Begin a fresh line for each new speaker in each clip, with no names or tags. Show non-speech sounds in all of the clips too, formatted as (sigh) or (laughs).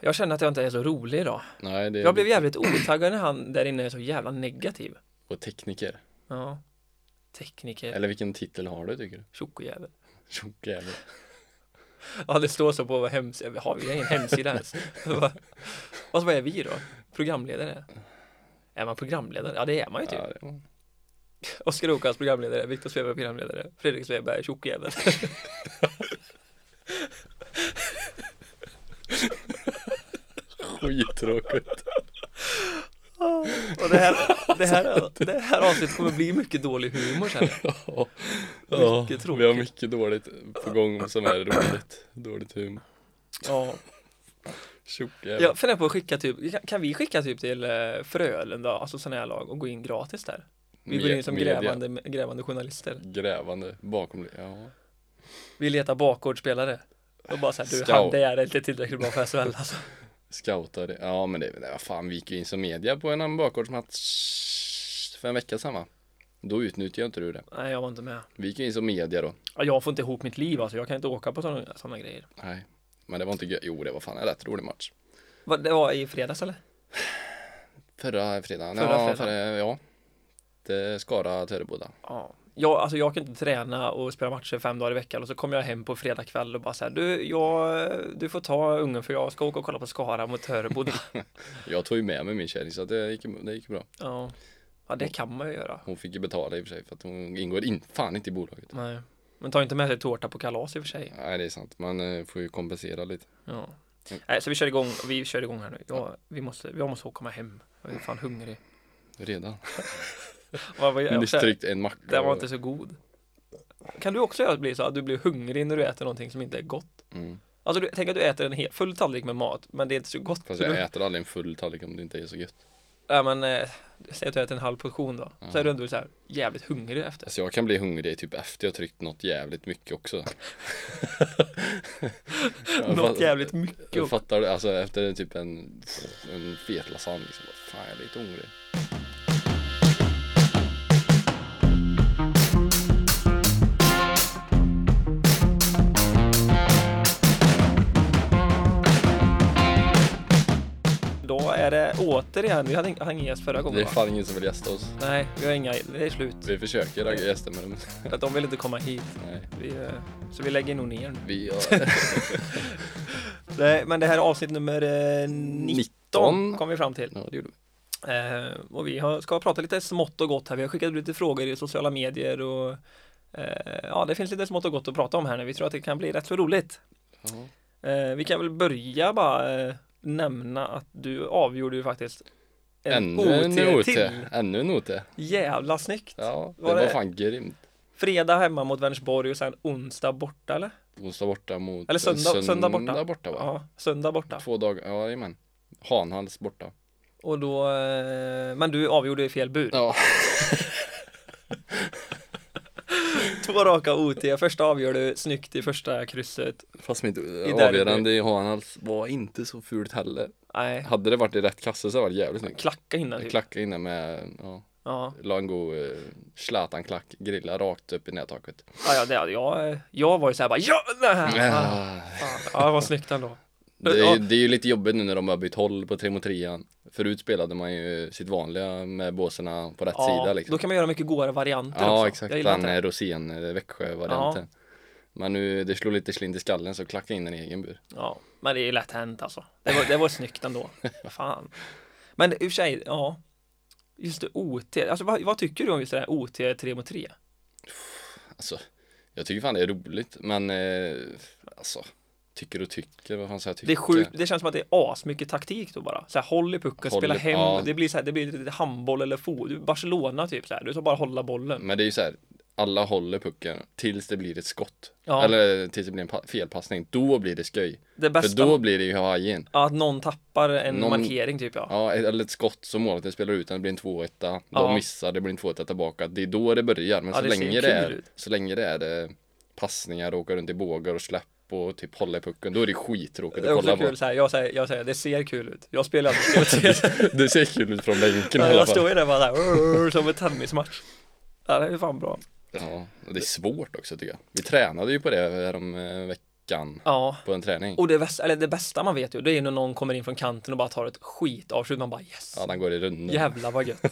Jag känner att jag inte är så rolig idag.
Nej, det är
Jag blev jävligt otaggad när han där inne är så jävla negativ.
och tekniker.
Ja. Tekniker,
Eller vilken titel har du tycker du?
tjocojävel.
Tjock jävel.
Ja, det står så på vår hemsida. Har vi ingen hemsida ens? (laughs) Va? Och så vad är vi då? Programledare? Är man programledare? Ja, det är man ju typ.
Ja, det var-
Oskar Okas programledare, Viktor Sveberg programledare, Fredrik Sveberg tjockjävel.
Skittråkigt.
(laughs) Och det här, det, här, (laughs) det här avsnittet kommer bli mycket dålig humor (laughs) känner jag.
Ja. Ja,
Mycket
Vi har
tråkigt.
mycket dåligt på gång som är roligt. Dåligt humor.
Ja.
Tjock
Jag
jävel.
funderar på att skicka typ, kan- kan vi skicka typ till eh, Frölunda, alltså sådana här lag och gå in gratis där? Vi går
Me-
in som
media.
grävande, grävande journalister.
Grävande bakom. Ja.
Vi letar bakgårdsspelare. Och bara såhär, du
Scout.
han där är inte tillräckligt bra för SHL alltså.
Scoutade. Ja, men det, det vad fan, vi gick ju in som media på en annan bakgårdsmatch för en vecka sedan va? Då utnyttjade jag inte du det.
Nej, jag var inte med.
Vi gick ju in som media då.
Ja, Jag får inte ihop mitt liv alltså, jag kan inte åka på sådana såna grejer.
Nej, men det var inte gö- Jo, det var fan en rätt rolig match.
Vad, det var i fredags eller?
Förra fredagen.
Förra
ja,
fredagen.
Förra, ja. Det Skara Töreboda.
Ja, jag, alltså jag kan inte träna och spela matcher fem dagar i veckan och så kommer jag hem på fredag kväll och bara så här, du, jag, du får ta ungen för jag ska åka och kolla på Skara mot
(laughs)
Töreboda.
Jag tog ju med mig min kärring så att det gick, det gick bra.
ja. ja, det kan man ju göra.
Hon fick ju betala i och för sig för att hon ingår in, fan inte i bolaget.
Nej. Men ta inte med sig tårta på kalas i och för sig.
Nej, det är sant. Man eh, får ju kompensera lite.
Ja.
Mm.
Nej, så vi kör igång, vi kör igång här nu. Jag, vi måste, jag måste komma hem. Jag är fan hungrig.
Redan.
Vad var jag?
Nyss tryckt en macka.
Den var
och-
inte så god. Kan du också göra bli så att du blir hungrig när du äter någonting som inte är gott?
Mm.
Alltså du, tänk att du äter en hel, full tallrik med mat, men det är inte så gott.
Fast
så du,
jag äter aldrig en full tallrik om det inte är så gött.
ja, men, eh, säg att du äter en halv portion då, så
Ja.
är du ändå så här jävligt hungrig
(laughs)
efter.
Alltså jag kan bli hungrig typ efter jag tryckt något jävligt mycket också. Jag
Något
fatt-
jävligt mycket.
Jag fattar du? Alltså efter typ en, en fet lasagne liksom. bara, Fan jag är lite hungrig.
Då är det återigen, vi hade ing- hade ingen gäst förra
Det är
gången va?
fan ingen som vill gästa oss.
Nej, vi har inga, det är slut.
Vi försöker ragga gäster men de,
För att de vill inte komma hit.
nej.
Vi, eh, så vi lägger nog ner nu. (laughs)
Vi har
Nej, men det här är avsnitt nummer eh, 19
19.
kom vi fram till.
Ja, det gjorde vi.
Eh, och vi har, ska prata lite smått och gott här. Vi har skickat ut lite frågor i sociala medier och eh, ja, det finns lite smått och gott att prata om här nu. Vi tror att det kan bli rätt så roligt.
Ja.
Eh, vi kan väl börja bara eh, nämna att du avgjorde ju faktiskt en
Ännu
OT
en OT.
till.
Ännu en OT.
Jävla snyggt!
Ja, det
Var
var,
det-
fan grymt.
Fredag hemma mot Vänersborg och sen onsdag borta eller?
Onsdag borta mot...
Eller söndag- söndag borta.
va?
Ja, söndag borta.
Två dagar, ja jajamän. Hanhals borta.
Och då, eh, men du avgjorde i fel bur.
Ja.
(laughs) Två raka OT, första avgör du snyggt i första krysset.
Fast mitt
derby.
avgörande i Hanhals var inte så fult heller.
Nej,
Hade det varit i rätt klasse så var det jävligt snyggt.
klacka innan
Jag
typ.
klackade inne med, ja,
Ja,
la en god eh, Zlatan-klack, grilla rakt upp i nättaket.
ja, ja, det, ja, jag, jag var ju såhär bara ja, nej, ah,
Ah.
fan. ja, det var snyggt ändå.
Det är,
Ja.
ju, det är ju lite jobbigt nu när de har bytt håll på 3 mot 3 Förut spelade man ju sitt vanliga med båsarna på rätt sida
Ja,
liksom.
då kan man göra mycket godare varianter också.
Ja exakt,
Jag gillar
den eh,
inte det.
Rosén, Växjö-varianten. Men nu, det slog lite slint i skallen så klackade in en egen bur.
Ja, men det är ju lätt hänt alltså. Det var, det var snyggt
(laughs)
ändå. Fan. Men i och för sig, ja. Just det, OT. Alltså vad, vad tycker du om just det här OT 3 mot 3?
Alltså, jag tycker fan det är roligt men eh, alltså, tycker och tycker, vad fan ska jag tycka?
Det är sjukt, det känns som att det är asmycket taktik då bara. Så här, håll i pucken,
Håll
spela
i-
hem.
ja.
Det blir så här, det blir lite handboll eller fot. Barcelona typ så här. Du ska bara hålla bollen.
Men det är ju så här, alla håller pucken tills det blir ett skott.
Ja.
Eller tills det blir en pa- felpassning, då blir det sköj.
Det
För
bästa,
då blir det ju hajen.
ja, att någon tappar en
Någon-
markering typ ja.
Ja, eller ett skott som målvakten spelar ut, det blir en 2-1, de
Ja.
missar, det blir en 2-1 tillbaka. Det är då det börjar, men
Ja,
så,
det ser
länge
kul
det är,
ut.
så länge det är det passningar, åka runt i bågar och släpp och typ hålla i pucken, då är det skittråkigt
Det är
att
också
kolla på.
kul så här, jag säger, jag säger, det ser kul ut. Jag spelar aldrig
(laughs)
spel
Det ser kul ut från bänken i alla
Jag
fall.
står ju där bara så här, "Urr", som en tennismatch. Ja, det är fan bra.
Ja, och det är svårt också tycker jag. Vi tränade ju på det här om eh, veck- veckan
Ja.
på en träning.
Och det bästa, eller det bästa man vet ju, det är ju när någon kommer in från kanten och bara tar ett skitavslut. Man bara yes!
Ja, den går i rundor.
Jävlar vad
(laughs)
gött!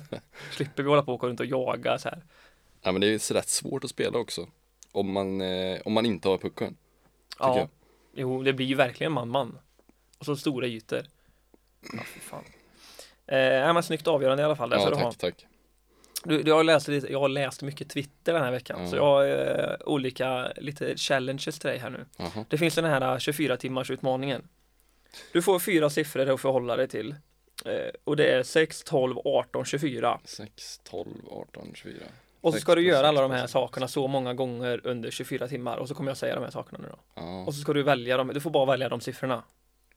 Slipper vi hålla på och gå runt och jaga så här.
Ja, men det är rätt svårt att spela också. Om man, eh, om man inte har pucken.
Ja.
jag.
Jo, det blir ju verkligen man-man. Och så stora ytor. Ja, fy fan. Eh, nej, men snyggt avgörande i alla fall. Där,
Ja,
så du, har.
tack, tack.
Du, du har läst lite, jag har läst mycket Twitter den här veckan.
Ja.
Så jag har eh, olika lite challenges till dig här nu.
Jaha.
Det finns den här 24 timmars utmaningen. Du får fyra siffror att förhålla dig till. Eh, och det är 6, 12, 18, 24.
6, 12, 18, 24.
Och så
Sex
ska du
plus
göra
sex
alla de
plus
här
sex.
sakerna så många gånger under 24 timmar. Och så kommer jag säga de här sakerna nu då.
Ja.
Och så ska du välja dem, du får bara välja de siffrorna.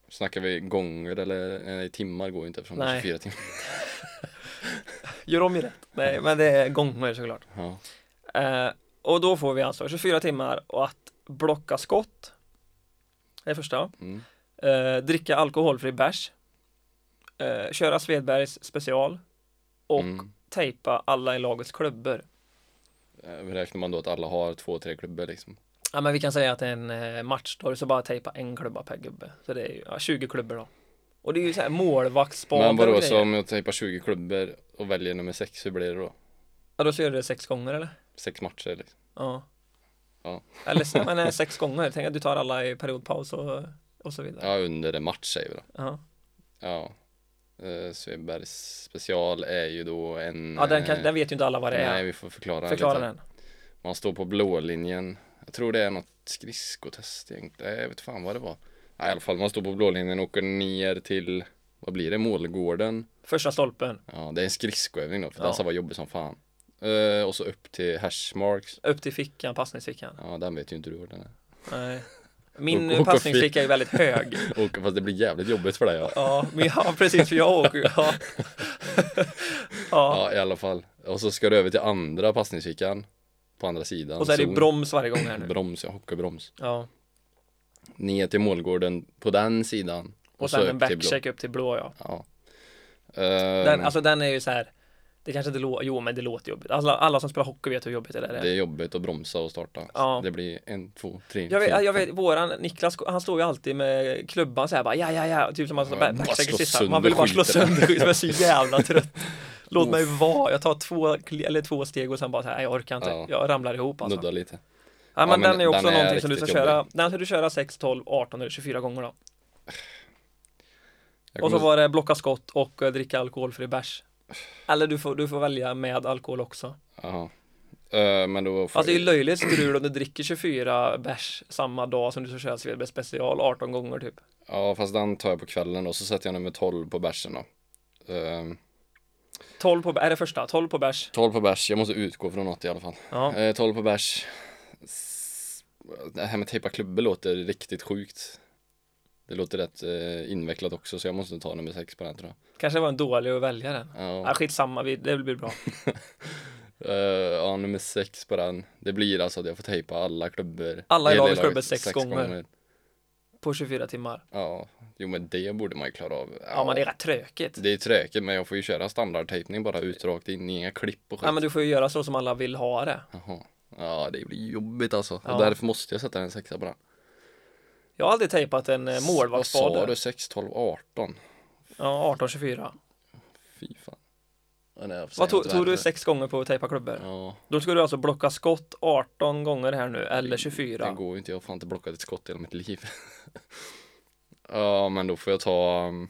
Snackar vi gånger eller nej, timmar går ju inte eftersom det är
Nej.
24 timmar.
Gör om ju rätt. Nej, men det är gånger såklart.
Ja.
Eh, och då får vi alltså 24 timmar och att blocka skott. Det är första.
Mm.
Eh, dricka alkoholfri bärs. Eh, köra Svedbergs special. Och
Mm.
tejpa alla i lagets klubbor.
Eh, Räknar man då att alla har två, tre klubbor liksom?
Ja, men vi kan säga att det är en eh, match då, så bara tejpa en klubba per gubbe. Så det är ju ja, 20 klubbor då. Och det är ju så här
Men
målvaktsspadar och
vadå,
grejer.
så om jag tejpar 20 klubbor och väljer nummer 6, hur blir det då?
Ja, då så gör du det sex gånger eller?
Sex matcher liksom.
Ja.
Ja.
Eller så, men
(laughs)
eh, sex gånger. Tänk att du tar alla i periodpaus och, och så vidare.
Ja, under en match säger vi då.
Ja.
Ja. Eh, Svedbergs special är ju då en...
Ja, den, kan,
eh,
den vet ju inte alla vad det
Nej,
är.
vi får förklara,
Förklara
lite.
den.
Man står på blå linjen. Jag tror det är något skridskotest egentligen. Nej, Jag vet fan vad det var. Ja, I alla fall, man står på blå linjen och åker ner till, vad blir det, målgården.
Första stolpen,
Ja, det är en skridskoövning då, för
Ja.
dansa var jobbig som fan. Eh, och så upp till hashmarks.
upp till fickan, passningsfickan.
Ja, den vet ju inte du vad den är.
Nej. Min
Och- och-
eh,
och
passningsficka är väldigt
(laughs)
hög.
Och, fast det blir jävligt jobbigt för dig ja.
Ja, men, ja precis, för jag åker ju. Ja. ja.
Ja, i alla fall. Och så ska du över till andra passningsfickan. På andra sidan.
Och så är det
zon.
broms varje gång här nu.
Broms, ja, hockeybroms.
Ja.
Ner till målgården på den sidan.
Och, sen en
upp till blå.
backcheck upp till blå ja.
Ja.
Den,
Ehm,
alltså den är ju så här. Det kanske inte låter, jo men det låter jobbigt. Alla, alla som spelar hockey vet hur jobbigt det där är.
Det är jobbigt att bromsa och starta.
Ja.
Det blir en, två, tre,
Jag vet,
fyra,
jag
fem.
vet, våran Niklas, han står ju alltid med klubban såhär bara ja, ja, ja, typ som man
Ja, bara
backsäker
slå
sista.
sönder
Man vill bara slå
skiten.
sönder skiten,
(laughs)
jag är så jävla trött. Låt mig vara, jag tar två, kli- eller två steg och sen bara såhär, nej, jag orkar inte,
Ja.
jag ramlar ihop alltså.
Nudda lite.
Ja, men
Ja, men
den är också
den är
någonting som du ska
riktigt
köra, den ska du köra 6, 12, 18 eller 24 gånger då.
Jag
Och så
kommer-
var det blocka skott och eh, dricka alkoholfri bärs. Eller du får, du får välja med alkohol också.
Jaha. Ehm, men då får
Alltså det är ju
jag...
löjligt strul om du dricker 24 bärs samma dag som du ska köra Svedberg special 18 gånger typ.
Ja, fast den tar jag på kvällen och så sätter jag nummer 12 på bärsen då. Ehm,
12 på, är det första? 12 på bärs?
12 på bärs, jag måste utgå från något i alla fall.
Ja.
Eh, 12 på bärs. S- Det här med tejpa klubbor låter riktigt sjukt. Det låter rätt eh, invecklat också så jag måste ta nummer 6 på den tror jag.
Kanske var en dålig att välja den. Ja.
Ja,
Ah, skitsamma, vi, det blir bra.
Eh, ja nummer 6 på den. Det blir alltså att jag får tejpa alla klubbor.
Alla i
hela
lagets klubbor sex gånger. På 24 timmar.
Ja, jo men det borde man ju klara av.
Ja, men det är rätt trökigt.
det är tråkigt men jag får ju köra standardtejpning bara ut rakt in, inga klipp och skit.
Ja, men du får ju göra så som alla vill ha det.
Jaha. Ja, det blir jobbigt alltså.
Ja.
Och därför måste jag sätta en sexa på den.
Jag har aldrig tejpat en eh,
Vad sa du?
målvaktsspader.
6, 12, 18?
Ja, 18-24.
Fy fan. Ja, nej, jag får
Vad
säga
tog,
något
tog du
värre.
sex gånger på att tejpa klubbor?
Ja,
Då ska du alltså blocka skott 18 gånger här nu, eller
det
24.
går ju inte. Jag har fan inte blockat ett skott i hela mitt liv. (laughs) ja, men då får jag ta... um,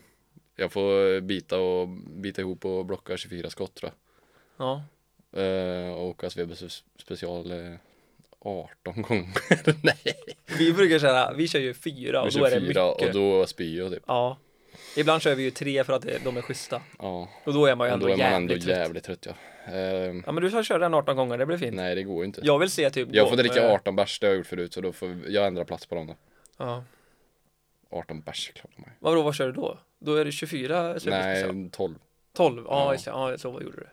Jag får bita, och, bita ihop och blocka 24 skott tror jag.
Ja.
Eh, och åka Svebes special eh, 18 gånger. (laughs) Nej,
Vi brukar köra, vi kör ju fyra
vi
och då
kör
är det mycket.
fyra och då spyr jag typ.
Ja. Ibland kör vi ju tre för att det- de är schyssta.
Ja,
Och då är man ju
men då
ändå
är man
jävligt
ändå
trött.
jävligt trött ja. Ehm,
Ja men du ska köra den 18 gånger, det blir fint.
nej, det går ju inte.
Jag vill se typ
Jag får
de, eh,
dricka 18 bärs, det har jag gjort förut, så då får jag ändra plats på dem då.
Ja.
18 bärs klarar mig.
Vadå, vad kör du då? Då är det 24 superspecial?
Nej, 12.
12? Ja,
Ja.
just det. Ja, så vad gjorde du?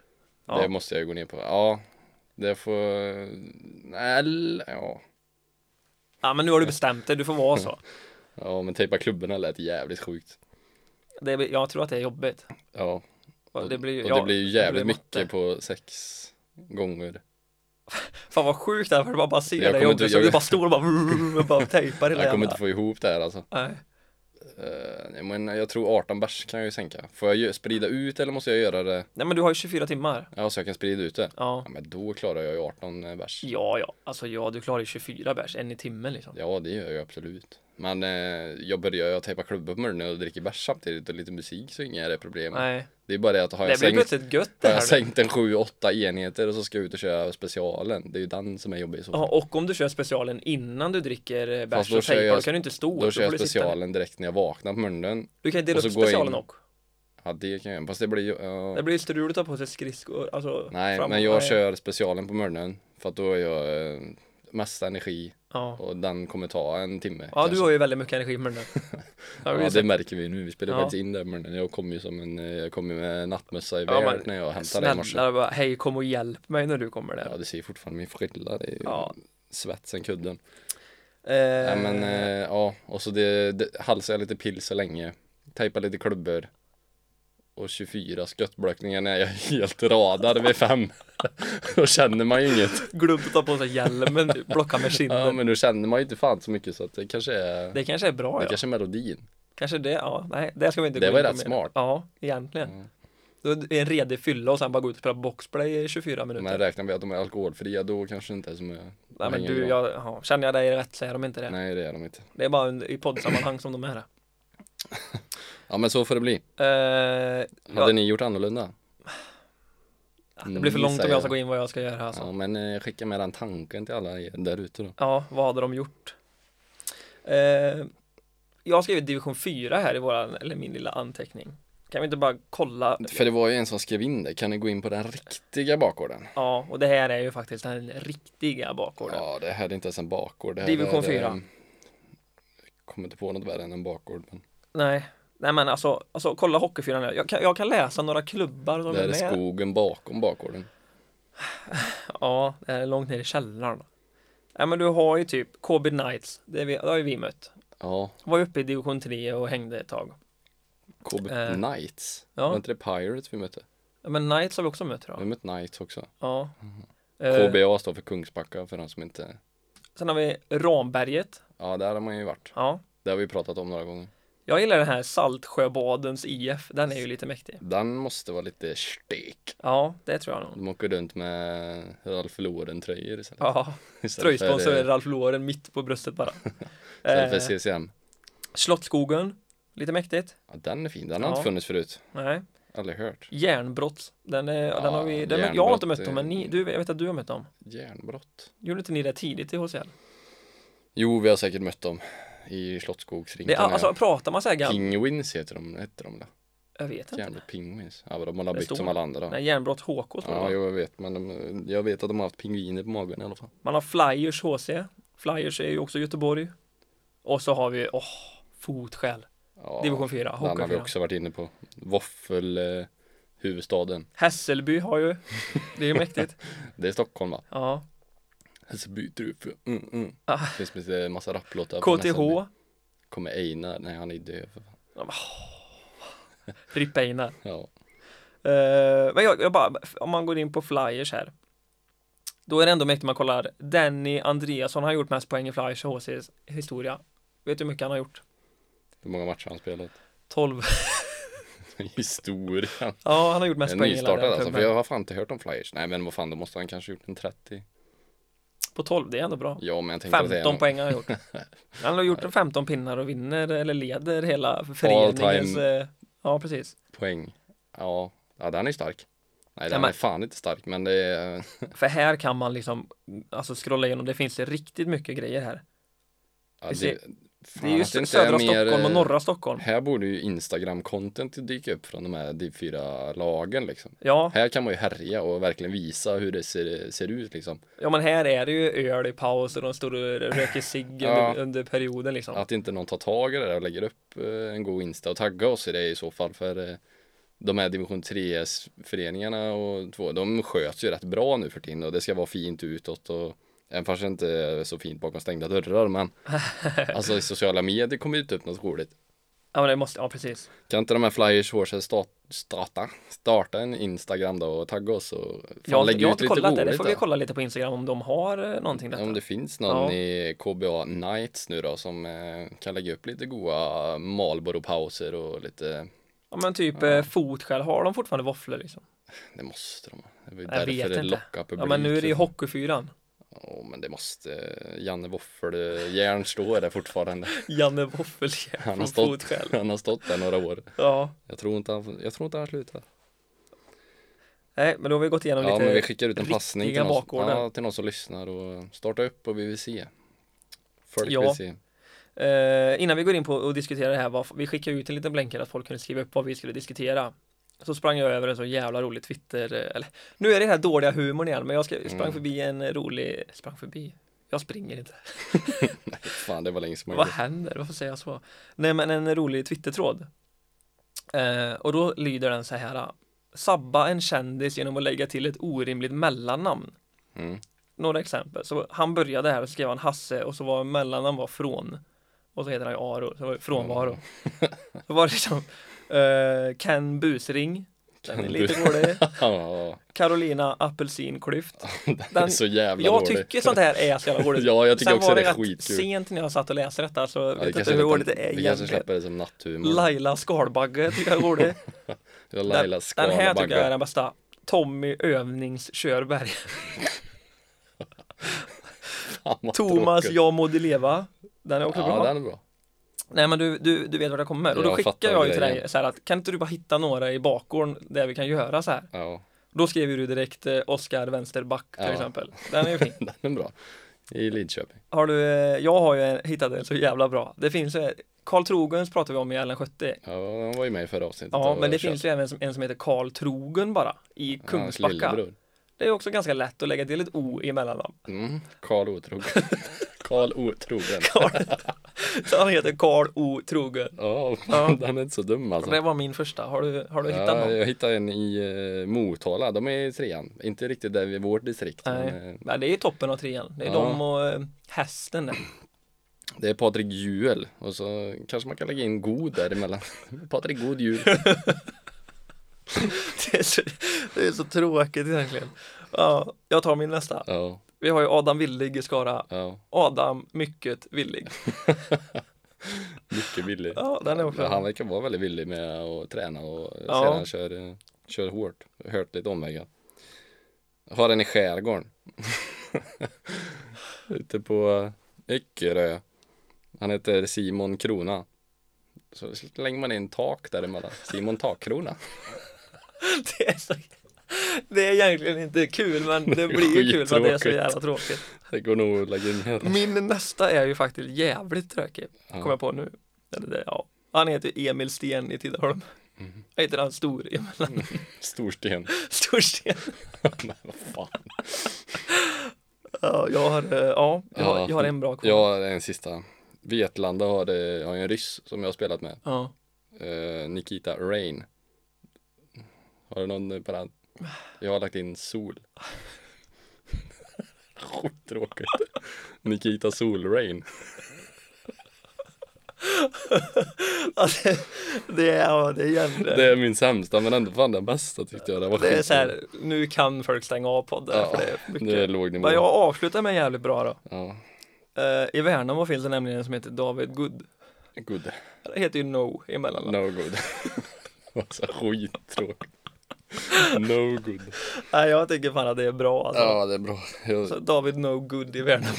Ja.
Det måste jag ju gå ner på. Ja, det får... Nej, eller- ja.
Ja, men nu har du bestämt dig. Du får vara
(laughs)
så.
Ja, men tejpa klubborna lät jävligt sjukt.
Det, blir- jag tror att det är jobbigt.
Ja,
Och det blir ju,
och
ja,
det blir ju jävligt
matte.
mycket på sex gånger.
Fan vad sjukt det här för man bara ser
Jag
dig
kommer
och
inte-
så
jag-
du bara står och bara,
(laughs)
vrrr, och bara tejpar hela
Jag kommer inte
jävla
få ihop det här alltså.
Nej,
Eh, men jag tror 18 bärs kan jag ju sänka. Får jag ju sprida ut eller måste jag göra det?
Nej men du har ju 24 timmar
Ja, så jag kan sprida ut det.
Ja,
Ja, men då klarar jag ju 18 bärs.
ja, ja. alltså ja du klarar ju 24 bärs, en i timmen liksom
Ja, det gör jag ju absolut. Men eh, jag börjar ju tejpa klubbor på munnen och dricker bärs samtidigt och lite musik så inga är det problem.
Nej,
Det är bara det att har jag
det blir
sänkt,
plötsligt gött det
har jag
här nu.
sänkt en 7-8 enheter och så ska jag ut och köra specialen. Det är ju den som är jobbig i så fall.
Ja, och om du kör specialen innan du dricker eh,
Fast
bärs
då
och
kör jag-
tejpar, då kan du inte stå
Då
upp,
kör
får
jag
du sitta ner.
specialen direkt när jag vaknar på munnen.
Du kan ju dela
Och så
upp
går jag
specialen
in.
och
Ja, det kan jag göra. Fast det blir ju... ja.
Det blir ju strul att ta på sig skridskor, alltså
Nej,
fram-
men jag
nej.
kör specialen på morgonen för att då är jag eh, mest energi
Ja,
och den kommer ta en timme.
ja
kanske.
du har ju väldigt mycket energi med den
(laughs)
där. Ja,
Ja,
vi
det
ser-
märker vi nu. Vi spelar
Ja.
faktiskt in där på morgonen. Jag kom ju som en, eh, jag kom ju med nattmössa i
Ja,
värld
men
när jag hämtade dig i morse.
Snälla bara, hej kom och hjälp mig när du kommer där.
Ja, du ser ju fortfarande min frilla. Det är ju
Ja.
svett sen kudden.
Eh,
Nej, men eh, ja, och så det, det halsar jag lite pill så länge. Tejpar lite klubbor. Och 24 skottblökningar när jag (laughs) är helt radad vid fem. (laughs) Då känner man ju inget.
Glömt att ta på sig hjälmen,
(laughs)
typ, blocka med kinden.
Ja men nu känner man ju inte fan så mycket så att det kanske är
Det kanske är bra
Det
ja. kanske...
kanske är melodin
det, ja. Nej, det ska vi inte
Det
gå
var
in på
rätt
mer.
smart.
Ja, egentligen.
Mm.
Då är det en redig fylla och sen bara gå ut och spela boxplay i 24 minuter.
Men räknar vi att de är alkoholfria då kanske inte är som är
Nej men
hänger
du,
bra.
jag, ja, känner jag dig rätt så är de inte det.
Nej det är de inte
Det är bara en, i poddsammanhang som de är det.
Ja men så får det bli
Eh,
Hade
Ja.
ni gjort annorlunda?
det blir för
Mm,
långt om
säger
jag ska
jag.
gå in vad jag ska göra alltså.
Ja men eh, skicka med den tanken till alla er där ute då
Ja, vad hade de gjort? Eh, jag har skrivit division 4 här i våran, eller min lilla anteckning. Kan vi inte bara kolla?
För det var ju en som skrev in det, kan ni gå in på den riktiga bakgården?
Ja, och det här är ju faktiskt den riktiga bakgården.
Ja det här är inte ens en bakgård det här
Division
är, eh,
fyra.
Kommer inte på något värre än en bakgård men
Nej, nej men alltså, alltså kolla hockeyfyran nu. Jag kan, jag kan läsa några klubbar som
Det här
är
är
med.
skogen bakom bakgården
Ja, det är långt ner i källaren. Nej men du har ju typ KB Knights, det, är vi, det har ju vi mött.
Ja,
Var ju uppe i division 3 och hängde ett tag.
KB
Eh,
Knights
ja.
Var inte det Pirates vi mötte?
Ja, men Knights har vi också mött
Vi
tror jag.
mötte Knights också
Ja. Eh,
KBA står för Kungsbacka för de som inte
sen har vi Ramberget.
Ja, där har man ju varit.
Ja.
Det har vi pratat om några gånger.
Jag gillar den här Saltsjöbadens IF, den är ju lite mäktig.
Den måste vara lite stek.
Ja, det tror jag nog.
De åker runt med Ralph Lauren-tröjor istället.
Ja,
istället för,
tröjsponsor är
istället
Ralph Lauren mitt på bröstet
(laughs)
bara.
för
Eh,
CCM.
Slottsskogen, lite mäktigt.
Ja, den är fin. Den har
Ja.
inte funnits förut.
Nej.
Aldrig hört.
Järnbrotts, den, är,
Ja,
den har vi, den, jag har
järnbrott
inte mött dem, men ni, du, jag vet att du har mött dem.
Järnbrott.
Gjorde inte ni det tidigt i HCL?
Jo, vi har säkert mött dem i Slottsskogsrinken.
Det, är-
ja.
alltså pratar man så här gammalt?
Pingwins heter de, hette de det?
Jag vet inte.
Järnbrott Pingwins. Ja, men de har
Det
bytt
står-
som alla andra. då.
Nej, järnbrott HK tror
Ja,
jag.
jo, jag vet, men de, jag vet att de har haft pingviner på magen i alla fall.
Man har Flyers HC. Flyers är ju också Göteborg. Och så har vi, åh, fotskäl.
Ja,
Division 4,
den har vi
HK4.
också varit inne på. Våffel, eh, huvudstaden.
Hässelby har ju, det är ju
(laughs)
mäktigt.
Det är Stockholm va?
Ja.
Hässelby Truffe, mm mm
Ah.
Det finns lite massa rapplåtar från Hässelby.
KTH,
Kommer Einar, nej han är döv för fan.
(laughs) Ripp Einar.
Ja,
Eh, men jag, jag bara, om man går in på Flyers här. Då är det ändå mäktigt man kollar. Danny Andreasson har gjort mest poäng i Flyers och HCs historia. Vet du hur mycket han har gjort?
hur många matcher har han spelat? (laughs)
12.
Historien
Ja, han har gjort
Det är
mest poäng i hela
Nystartad
den
alltså, för
klubben.
jag har fan inte hört om Flyers Nej men vad fan, då måste han kanske gjort en 30
På 12, det är ändå bra.
Ja men jag tänkte att det är
15
någon
poäng har han
(laughs)
gjort. Han har gjort 15 pinnar och vinner eller leder hela föreningens...
time.
eh, Ja, precis.
poäng Ja, ja den är stark Nej den
men-
är fan inte stark men det är
För här kan man liksom alltså scrolla igenom. Det finns det riktigt mycket grejer här.
ja,
Vi
det,
ser-
fan,
Det är ju
att inte
södra
är mer,
Stockholm och
eh,
norra Stockholm.
Här borde ju Instagram-content dyka upp från de här div 4-lagen liksom
Ja,
Här kan man ju härja och verkligen visa hur det ser, ser ut liksom.
ja, men här är det ju öl i paus och de står och röker cigg under,
Ja.
under perioden liksom.
Att inte någon tar tag i det där och lägger upp eh, en god Insta och taggar oss i det i så fall för eh, de här division 3-föreningarna och två, de sköts ju rätt bra nu för tiden och det ska vara fint utåt och även fast
(laughs)
det inte är så fint bakom stängda dörrar men alltså i sociala medier kommer ju inte upp något roligt.
Ja men det måste, ja precis.
Kan inte de här Flyers Horses start, starta, starta en Instagram då och tagga oss och fan,
Jag,
lägga
jag har
ut
inte
lite
kollat det,
roligt
det får vi
då?
kolla lite på Instagram om de har eh, någonting detta.
Om det finns någon i KBA Knights nu då som eh, kan lägga upp lite goa Marlboro-pauser och lite
Ja men typ ja. fotskäl, har de fortfarande våfflor liksom?
Det måste de ha. Det var ju
Jag vet
därför det
inte.
lockar publik
Ja men nu är det ju
liksom.
hockeyfyran. (laughs)
Ja men det måste eh, Janne Våffeljärn står
(laughs)
där fortfarande
Janne Våffel
Han
från
har stått,
fotskäl.
han har stått där några år
Ja.
Jag tror inte han, jag tror inte han slutar
Nej men då har vi gått igenom
Ja
lite.
men vi skickar ut en passning till
riktiga
någon,
bakgårdar.
ja, till någon som lyssnar och starta upp och vi vill se Folk
Ja.
vill se
Eh, innan vi går in på och diskutera det här, vad, vi skickade ut en liten blänkare att folk kunde skriva upp vad vi skulle diskutera. Så sprang jag över en så jävla rolig Twitter, eh, eller nu är det här dåliga humorn igen, men jag ska, sprang
Mm.
förbi en rolig, sprang förbi, jag springer inte.
Fan det var länge som
Vad
möjligt
händer? Varför säger jag så? Nej men en rolig twittertråd eh, Och då lyder den så här Sabba en kändis genom att lägga till ett orimligt mellannamn
mm. (laughs)
Några exempel, så han började här och skrev han Hasse och så var mellannamn var från Och så heter han ju Aro, så var det frånvaro (laughs) Så var det liksom eh, Ken Busring Den är
Ken
lite
(laughs)
dålig
Ja,
Carolina Apelsinklyft
(laughs) den, är
Den-
så jävla
Jag
dålig
tycker sånt här är så jävla roligt
(laughs) Ja jag tycker
Sen
också
var
det
det
är
rätt
skitkul
sent när jag satt och läste detta så
Ja,
vet jag
kanske
inte hur
släpper-
roligt det är
Vi kanske
egentligen
släpper det som natthumor
Laila Skalbagge tycker jag är
(laughs)
rolig.
Ja,
Den,
Laila
den här tycker jag är
Skalbagge
den bästa. Tommy Övnings Körberg.
Fan, vad
Thomas
tråkigt.
Jag mådde leva. Den är också
Ja
bra.
den är bra
Nej men du, du, du vet var det kommer. Och då
Jag
skickar
fattar
jag ju till
grejen.
dig så här att kan inte du bara hitta några i bakgården där vi kan göra så här.
Ja (laughs)
Då skriver du direkt eh, Oskar Vänsterback till
Ja.
exempel. Den är ju fin.
Den är bra. I Lidköping.
Har du, eh, jag har ju en, hittat en så jävla bra. Det finns eh, Karl Trogens pratar vi om i Ellen 70.
Ja, han var ju med i förra avsnittet.
Ja
och
men det
köpte
finns ju även som, en som heter Karl Trogen bara. I
hans
Kungsbacka.
lillebror.
Det är också ganska lätt att lägga till ett O emellan dem. (laughs)
Mm, Karl Otrogen. Karl Otrogen.
Så han heter Karl O. Trogen.
Ja, (laughs)
Ja.
han är inte så dum alltså.
Det var min första. Har du, har du hittat
Ja,
någon?
jag hittade en i eh, Motala, de är i trean. Inte riktigt där vid vårt distrikt.
Nej.
Men, eh,
Nej, det är toppen av trean. Det är
Ja.
de och eh, hästen. där.
det är Patrik Juel och så kanske man kan lägga in God däremellan. (laughs) Patrik
(laughs)
God Jul.
Det är så, det är så tråkigt egentligen. Ja, jag tar min nästa.
Ja,
Vi har ju Adam Willig i Skara.
ja,
Adam mycket villig.
mycket villig.
Ja, den är också.
Han verkar vara väldigt villig med att träna och
Ja.
sedan kör, eh, kör hårt. Hört lite omvägar. Har den i skärgården. (laughs) Ute på Öckerö. Han heter Simon Krona. Så slänger man in tak däremellan. Simon Takkrona.
(laughs) Det är, så, det är egentligen inte kul men (laughs) det blir ju kul för att det är så jävla tråkigt.
(laughs) Det går nog att lägga in här.
Min nästa är ju faktiskt jävligt tråkig. Kommer jag på nu. Eller det, ja. Han heter Emil Sten i Tidaholm. Jag heter han Stor (laughs) emellan
(laughs) Storsten.
Storsten.
Men vad fan.
Ja, jag har, eh, ja, jag, har- jag har en bra kvar.
Jag har en sista. Vetlanda har, det, har ju en ryss som jag har spelat med.
Ja. (laughs)
Eh, Nikita Rain. Har du någon eh, på den? Jag har lagt in Sol. (laughs) Sjukt tråkigt. Nikita Sol Rain.
Alltså, det är, ja, det är jävligt.
Det är min sämsta men ändå fan den bästa tyckte jag. Det var
Det är
skit.
så här, nu kan folk stänga av podden
Ja,
för det är mycket.
det är låg nivå.
Men jag avslutar med en jävligt bra då.
Ja,
Eh, I Värnamo finns det nämligen en som heter David Good.
good.
Det heter ju No emellan.
No good. (laughs) alltså skittråkigt. No good.
Nej, jag tycker fan att det är bra alltså.
Ja det är bra. Jag,
Så David No Good i
(laughs)
Värnamo.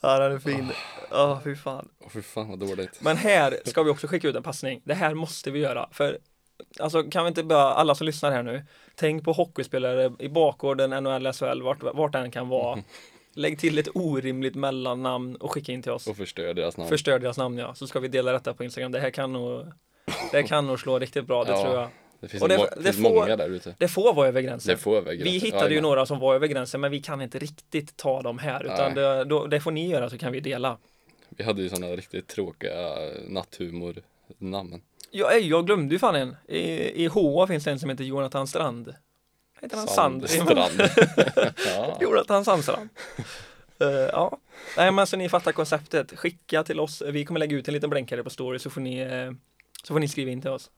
ja, den är fin.
Ah.
Ja, fy fan.
Åh, fy fan vad dåligt.
Men här ska vi också skicka ut en passning. Det här måste vi göra. För alltså, kan vi inte bara, alla som lyssnar här nu, tänk på hockeyspelare i bakgården, NHL, SHL, vart, vart den kan
(laughs)
vara. Lägg till ett orimligt mellannamn och skicka in till oss.
Och förstör deras namn.
Förstör deras namn ja, så ska vi dela detta på Instagram. Det här kan nog, det
(laughs)
här kan nog slå riktigt bra, det
Ja.
tror jag.
det finns,
och det-
må-
det
finns
får-
många där ute.
Det får vara över gränsen.
Det får vi.
Vi hittade ju några som var över gränsen men vi kan inte riktigt ta dem här utan
Nej.
det, då, det får ni göra så kan vi dela.
Vi hade ju sådana riktigt tråkiga natthumor-namn.
Jag, ej, jag glömde ju fan en. I, I HA finns det en som heter Jonathan Strand. Heter han Sand? (laughs)
Sandstrand. ja.
Jonathan Sandstrand. Eh, ja, nej men så ni fattar konceptet. Skicka till oss. Vi kommer lägga ut en liten blänkare på story så får ni, eh, så får ni skriva in till oss.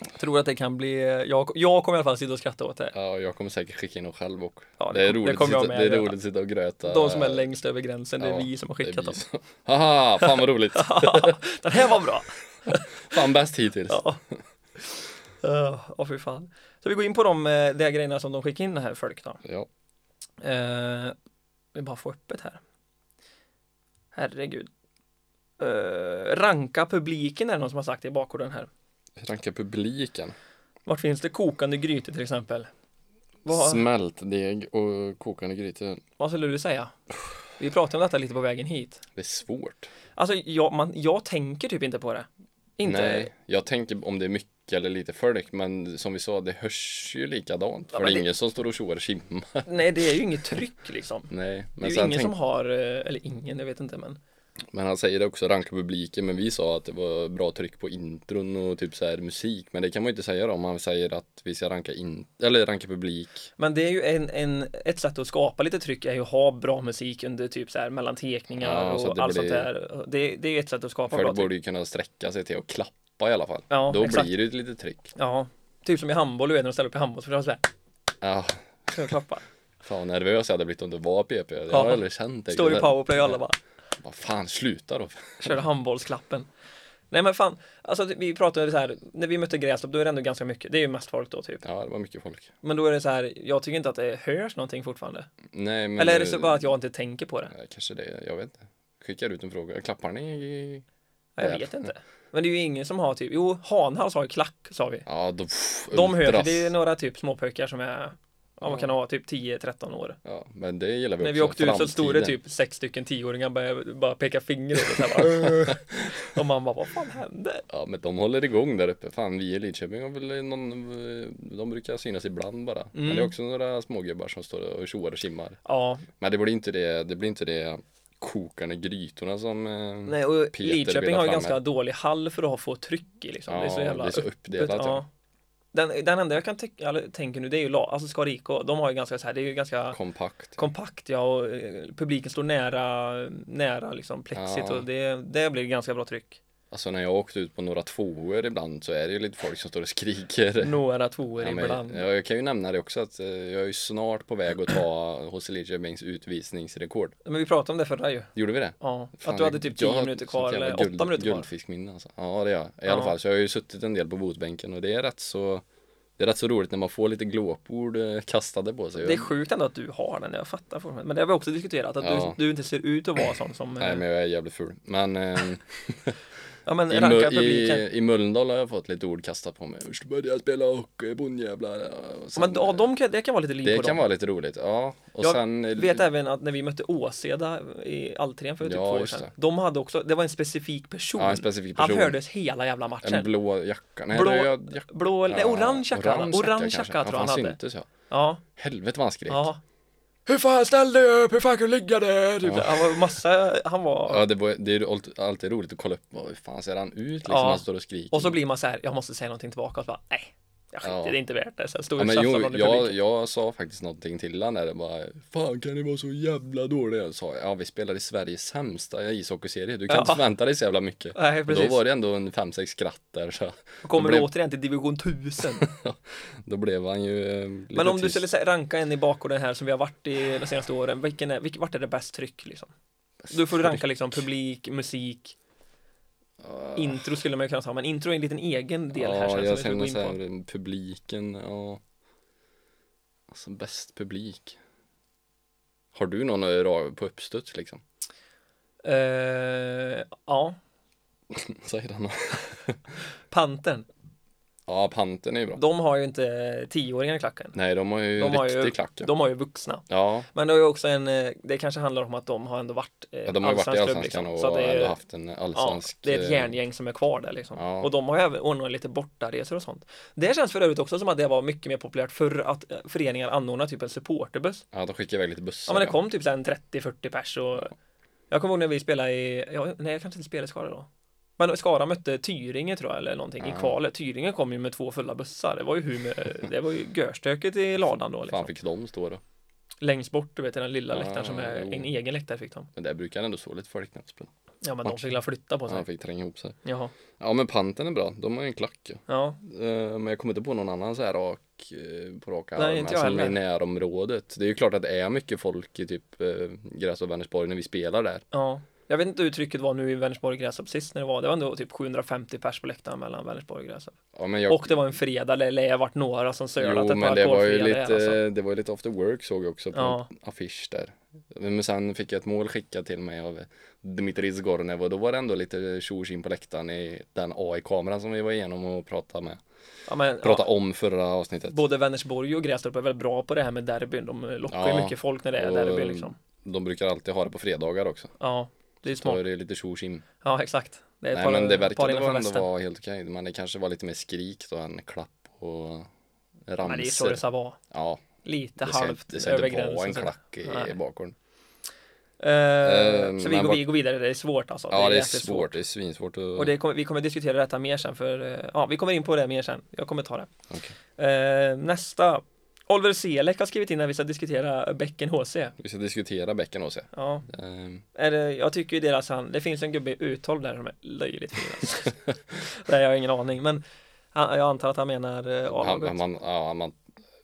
Jag tror att det kan bli, eh, jag, jag kommer i alla fall sitta och skratta åt det.
Ja, jag kommer säkert skicka in dem själv och
Ja,
det, är
kom-
roligt, att
kommer jag
sitta,
med
det är
att göra.
roligt att sitta och gröta.
De som är längst över gränsen, det är
Ja,
vi som har
Det är
skickat
vi
dem.
som- (laughs) Haha, fan
(laughs)
vad roligt!
Den här var bra!
Fan bäst hittills!
Ja, Eh, åh fy fan. Så vi går in på de, eh, de här grejerna som de skickar in här folk då.
Ja.
Eh, vi bara får öppet här. Herregud. Eh, ranka publiken är det någon som har sagt i bakgrunden här.
Ranka publiken.
Vart finns det kokande grytor till exempel? Vad,
Smältdeg och kokande grytor.
vad skulle du säga? Vi pratade om detta lite på vägen hit.
Det är svårt.
Alltså jag, man, jag tänker typ inte på det. Inte.
Nej, jag tänker om det är mycket eller lite folk, men som vi sa, det hörs ju likadant.
Ja,
för det
men
är
det-
ingen som står och tjoar och tjimmar.
Nej, det är ju inget tryck liksom.
(laughs) Nej,
Det är
men,
ju ingen
sen tänk,
som har, eh, eller ingen, jag vet inte men.
men han säger det också, ranka publiken, men vi sa att det var bra tryck på intron och typ så här musik. Men det kan man ju inte säga då, om han säger att vi ska ranka, in, eller ranka publik.
Men det är ju en, en, ett sätt att skapa lite tryck är ju att ha bra musik under typ så här mellan teckningar
Ja,
och
så att det
allt sånt
blir-
där. Det, det är ett sätt att skapa
Folk
bra tryck.
borde ju kunna sträcka sig till att klappa i alla fall.
Ja,
Då
exakt.
blir det ju ett litet tryck.
Ja, typ som i handboll, du vet när de ställer upp i handboll så får de såhär,
Ja,
klappa.
fan vad nervös jag hade blivit om det var PP. Jag
Ja.
har aldrig känt det.
Står i powerplay och alla bara
Vad fan, sluta då.
körde handbollsklappen. Nej men fan, alltså vi pratade så här, när vi mötte Grästorp då är det ändå ganska mycket, det är ju mest folk då typ.
Ja, det var mycket folk.
Men då är det så här, jag tycker inte att det hörs någonting fortfarande.
Nej, men... eh,
Eller är det så bara att jag inte tänker på det?
Ja, Kanske det, jag vet inte. Skickar ut en fråga. Klappar ni? i-
Jag vet inte. Men det är ju ingen som har typ, jo Hanhals har ju klack sa vi.
Ja, de... pff,
De hör,
ultras.
det är några typ småpojkar som är, ja man kan ha typ 10-13 år.
Ja, men det gillar vi
När
också.
vi åkte ut så stod det
Framtiden.
typ sex stycken tioåringar började bara peka finger åt oss. så här
(laughs)
bara, Och man bara, vad fan hände?
Ja, men de håller igång där uppe. Fan, vi i Lidköping har väl någon... eh, De brukar synas ibland bara. Men det
Mm.
är också några smågubbar som står och tjoar och tjimmar.
Ja,
Men det blir inte det, det blir inte det kokande grytorna som... eh,
nej och
Peter
Lidköping
spelar
har ju
fram
ganska
här.
dålig hall för att få tryck i liksom. det är så
Ja,
jävla
det är så uppdelat, ja.
Den, den enda jag kan tycka, eller tänker nu det är ju La, alltså Skarico, de har ju ganska så här, det är ju ganska
Kompakt.
kompakt ja och eh, publiken står nära, nära liksom plexit
Ja.
och det, det blir ganska bra tryck.
Alltså när jag har åkt ut på några tvåor ibland så är det ju lite folk som står och skriker.
Några tvåor
Ja,
Mm,
men,
ibland.
ja, jag kan ju nämna det också att eh, jag är ju snart på väg att ta hos Lidköpings utvisningsrekord.
Men vi pratade om det förra ju.
Gjorde vi det?
Ja,
Fan,
att du hade typ
jag
10
har
minuter
sånt
kvar
jävla
eller 8 minuter kvar.
Guldfiskminne alltså. Ja det gör jag. I
Ja.
alla fall så jag har ju suttit en del på botbänken och det är rätt så Det är rätt så roligt när man får lite glåpord eh, kastade på sig.
Det är sjukt ändå att du har den, jag fattar fortfarande. Men det har vi också diskuterat, att
Ja.
du, du inte ser ut att vara sån som...
Nej men jag är jävligt ful.
(laughs)
Men eh,
ja men
I,
ranka
Mö-
publiken.
i, I Mölndal har jag fått lite ord kastat på mig. Först började jag spela hockey, bondjävlar. eh, och
Ja,
sen-
men ja, de kan, det kan vara lite liv
det
på
kan
dem.
vara lite roligt, ja. Och
Jag
sen, eh,
Vet även att när vi mötte Åseda i Allträn för typ
Ja,
två år
just
sedan.
det.
De hade också, det var en specifik person.
ja, en specifik
Han
person.
hördes hela jävla matchen.
en blå jacka. Nej,
Blå-
röd jacka.
Blå, nej,
Ja,
orange jacka hade han. Orange
kanske.
jacka tror jag han
fan,
hade.
syntes jag.
Ja,
Helvete vad han skrek. Ja.
ja.
Hur fan ställ dig upp, hur fan kan du ligga där? Typ. Ja.
Han var massa, han var...
det, var, det är ju allt- alltid roligt att kolla upp, vad hur fan ser han ut liksom?
Ja.
Han står och skriker.
Och så blir man så här, jag måste säga någonting tillbaka och så bara, nej, jag skiter
Ja.
det är inte värt det. Sen stod
Ja,
och
men
tjafsade
jo,
någon i
jag,
publiken.
jag sa faktiskt någonting till han där, det bara Fan kan ni vara så jävla dåliga? Jag sa, ja vi spelar i Sveriges sämsta ishockeyserie, du kan
Ja.
inte förvänta dig så jävla mycket.
Nej,
Då
precis.
var det ändå en 5-6 skratt där så (laughs)
Och kommer
Då blev-
återigen till division 1000.
(laughs) då blev han ju eh, lite
Men om du
tyst.
skulle sä- ranka en i bakgrunden här som vi har varit i de senaste åren, vilken är, vilk, vart är det bäst tryck liksom? Du får ranka liksom publik, musik,
Ja,
intro skulle man ju kunna ta, men intro är en liten egen del här
Ah. Ja,
sen
jag
som vi
känner
får gå in på.
såhär publiken, ja Alltså bäst publik Har du någon eh, ra- på uppstuds liksom? (laughs)
Eh, ja,
Säg den då.
Pantern.
Ja, panten är ju bra
De har ju inte tioåringar i klacken.
Nej, de har ju
De har ju-
riktig klack ja.
De har ju vuxna.
ja,
Men det är ju också en, eh, det kanske handlar om att de har ändå varit eh,
ja, de har ju varit i
allsvensk klubb,
Allsvenskan
liksom.
och
Så att det är-
ändå haft en
Ja,
allsvensk
det är ett
eh,
järngäng som är kvar där liksom.
Ja.
Och de har även ordnat lite bortaresor och sånt. Det känns för övrigt också som att det var mycket mer populärt förr att eh, föreningar anordnade typ en supporterbuss.
Ja, de skickar iväg lite bussar
Ja men det kom typ så här en 30-40 pers och jag kommer ihåg när vi spelade i, ja, nej jag kanske inte spelade i Skara då. Men Skara mötte Tyringe tror jag eller någonting i
Ja.
kvalet. Tyringe kom
(laughs)
ju med två fulla bussar. Det var ju hur med, det var ju görstöket i ladan då
Fan
liksom.
fick de stå då?
längst bort, du vet den där lilla
Ja,
läktaren som är
jo.
en egen läktare fick de.
Men där brukar det ändå stå lite folk knappt. på.
Ja men de fick la flytta på sig.
Han fick tränga ihop sig.
Jaha.
Ja men panten är bra, de har ju en klack ja.
Ja,
Eh, Men jag kommer inte på någon annan så här rak eh, på raka
Nej,
armar
inte jag
som
heller.
i närområdet. Det är ju klart att det är mycket folk i typ eh, Gräs och Vänersborg när vi spelar där.
ja. Jag vet inte hur trycket var nu i Vänersborg och Grästorp sist när det var. Det var ändå typ 750 pers på läktaren mellan Vänersborg och Grästorp.
Ja, men jag,
Och det var en fredag, det lär ha varit några som sölat
jo,
ett
men
par
det var ju
alkoholfria
lite,
där, alltså.
det var ju lite after work såg jag också på
Ja.
en affisch där. Men sen fick jag ett mål skickat till mig av Dmitris Gornev och då var det ändå lite tjo och tjim på läktaren i den AI-kameran som vi var igenom och pratade med.
Ja, men,
Prata
ja.
om förra avsnittet.
Både Vänersborg och Grästorp är väl bra på det här med derbyn. De lockar ju
Ja,
mycket folk när det är
och-
derby liksom.
De brukar alltid ha det på fredagar också.
Ja, det är
Då är
smart.
det lite tjo och tjim.
Ja, exakt. Det är ett
Nej
par-
men det
par
verkade
innanför
väl ändå
västen.
vara helt okej. Men det kanske var lite mer skrik då än klapp och
Men det är så
ramsor.
det ska vara.
Ja,
Lite
det ska,
halvt
det ska
över
inte
gränsen.
vara en
så.
klack i
Nej.
bakgården.
Eh,
Eh,
så vi
men
går,
vart-
vi går vidare, det är svårt alltså.
Ja det är
jättesvårt.
svårt, det är svinsvårt. att-
Och det kommer, vi kommer diskutera detta mer sen för, eh, ja vi kommer in på det mer sen. Jag kommer ta det.
Okej.
Eh, nästa. Oliver Selek har skrivit in att vi ska diskutera bäcken HC.
Vi ska diskutera bäcken också.
Ja,
Ehm,
är det, jag tycker ju deras han, det finns en gubbe i Utholm där som är löjligt fin
(laughs)
alltså. Nej jag har ingen aning men han, jag antar att han menar eh,
han,
A-laget.
han, han, ja, han, man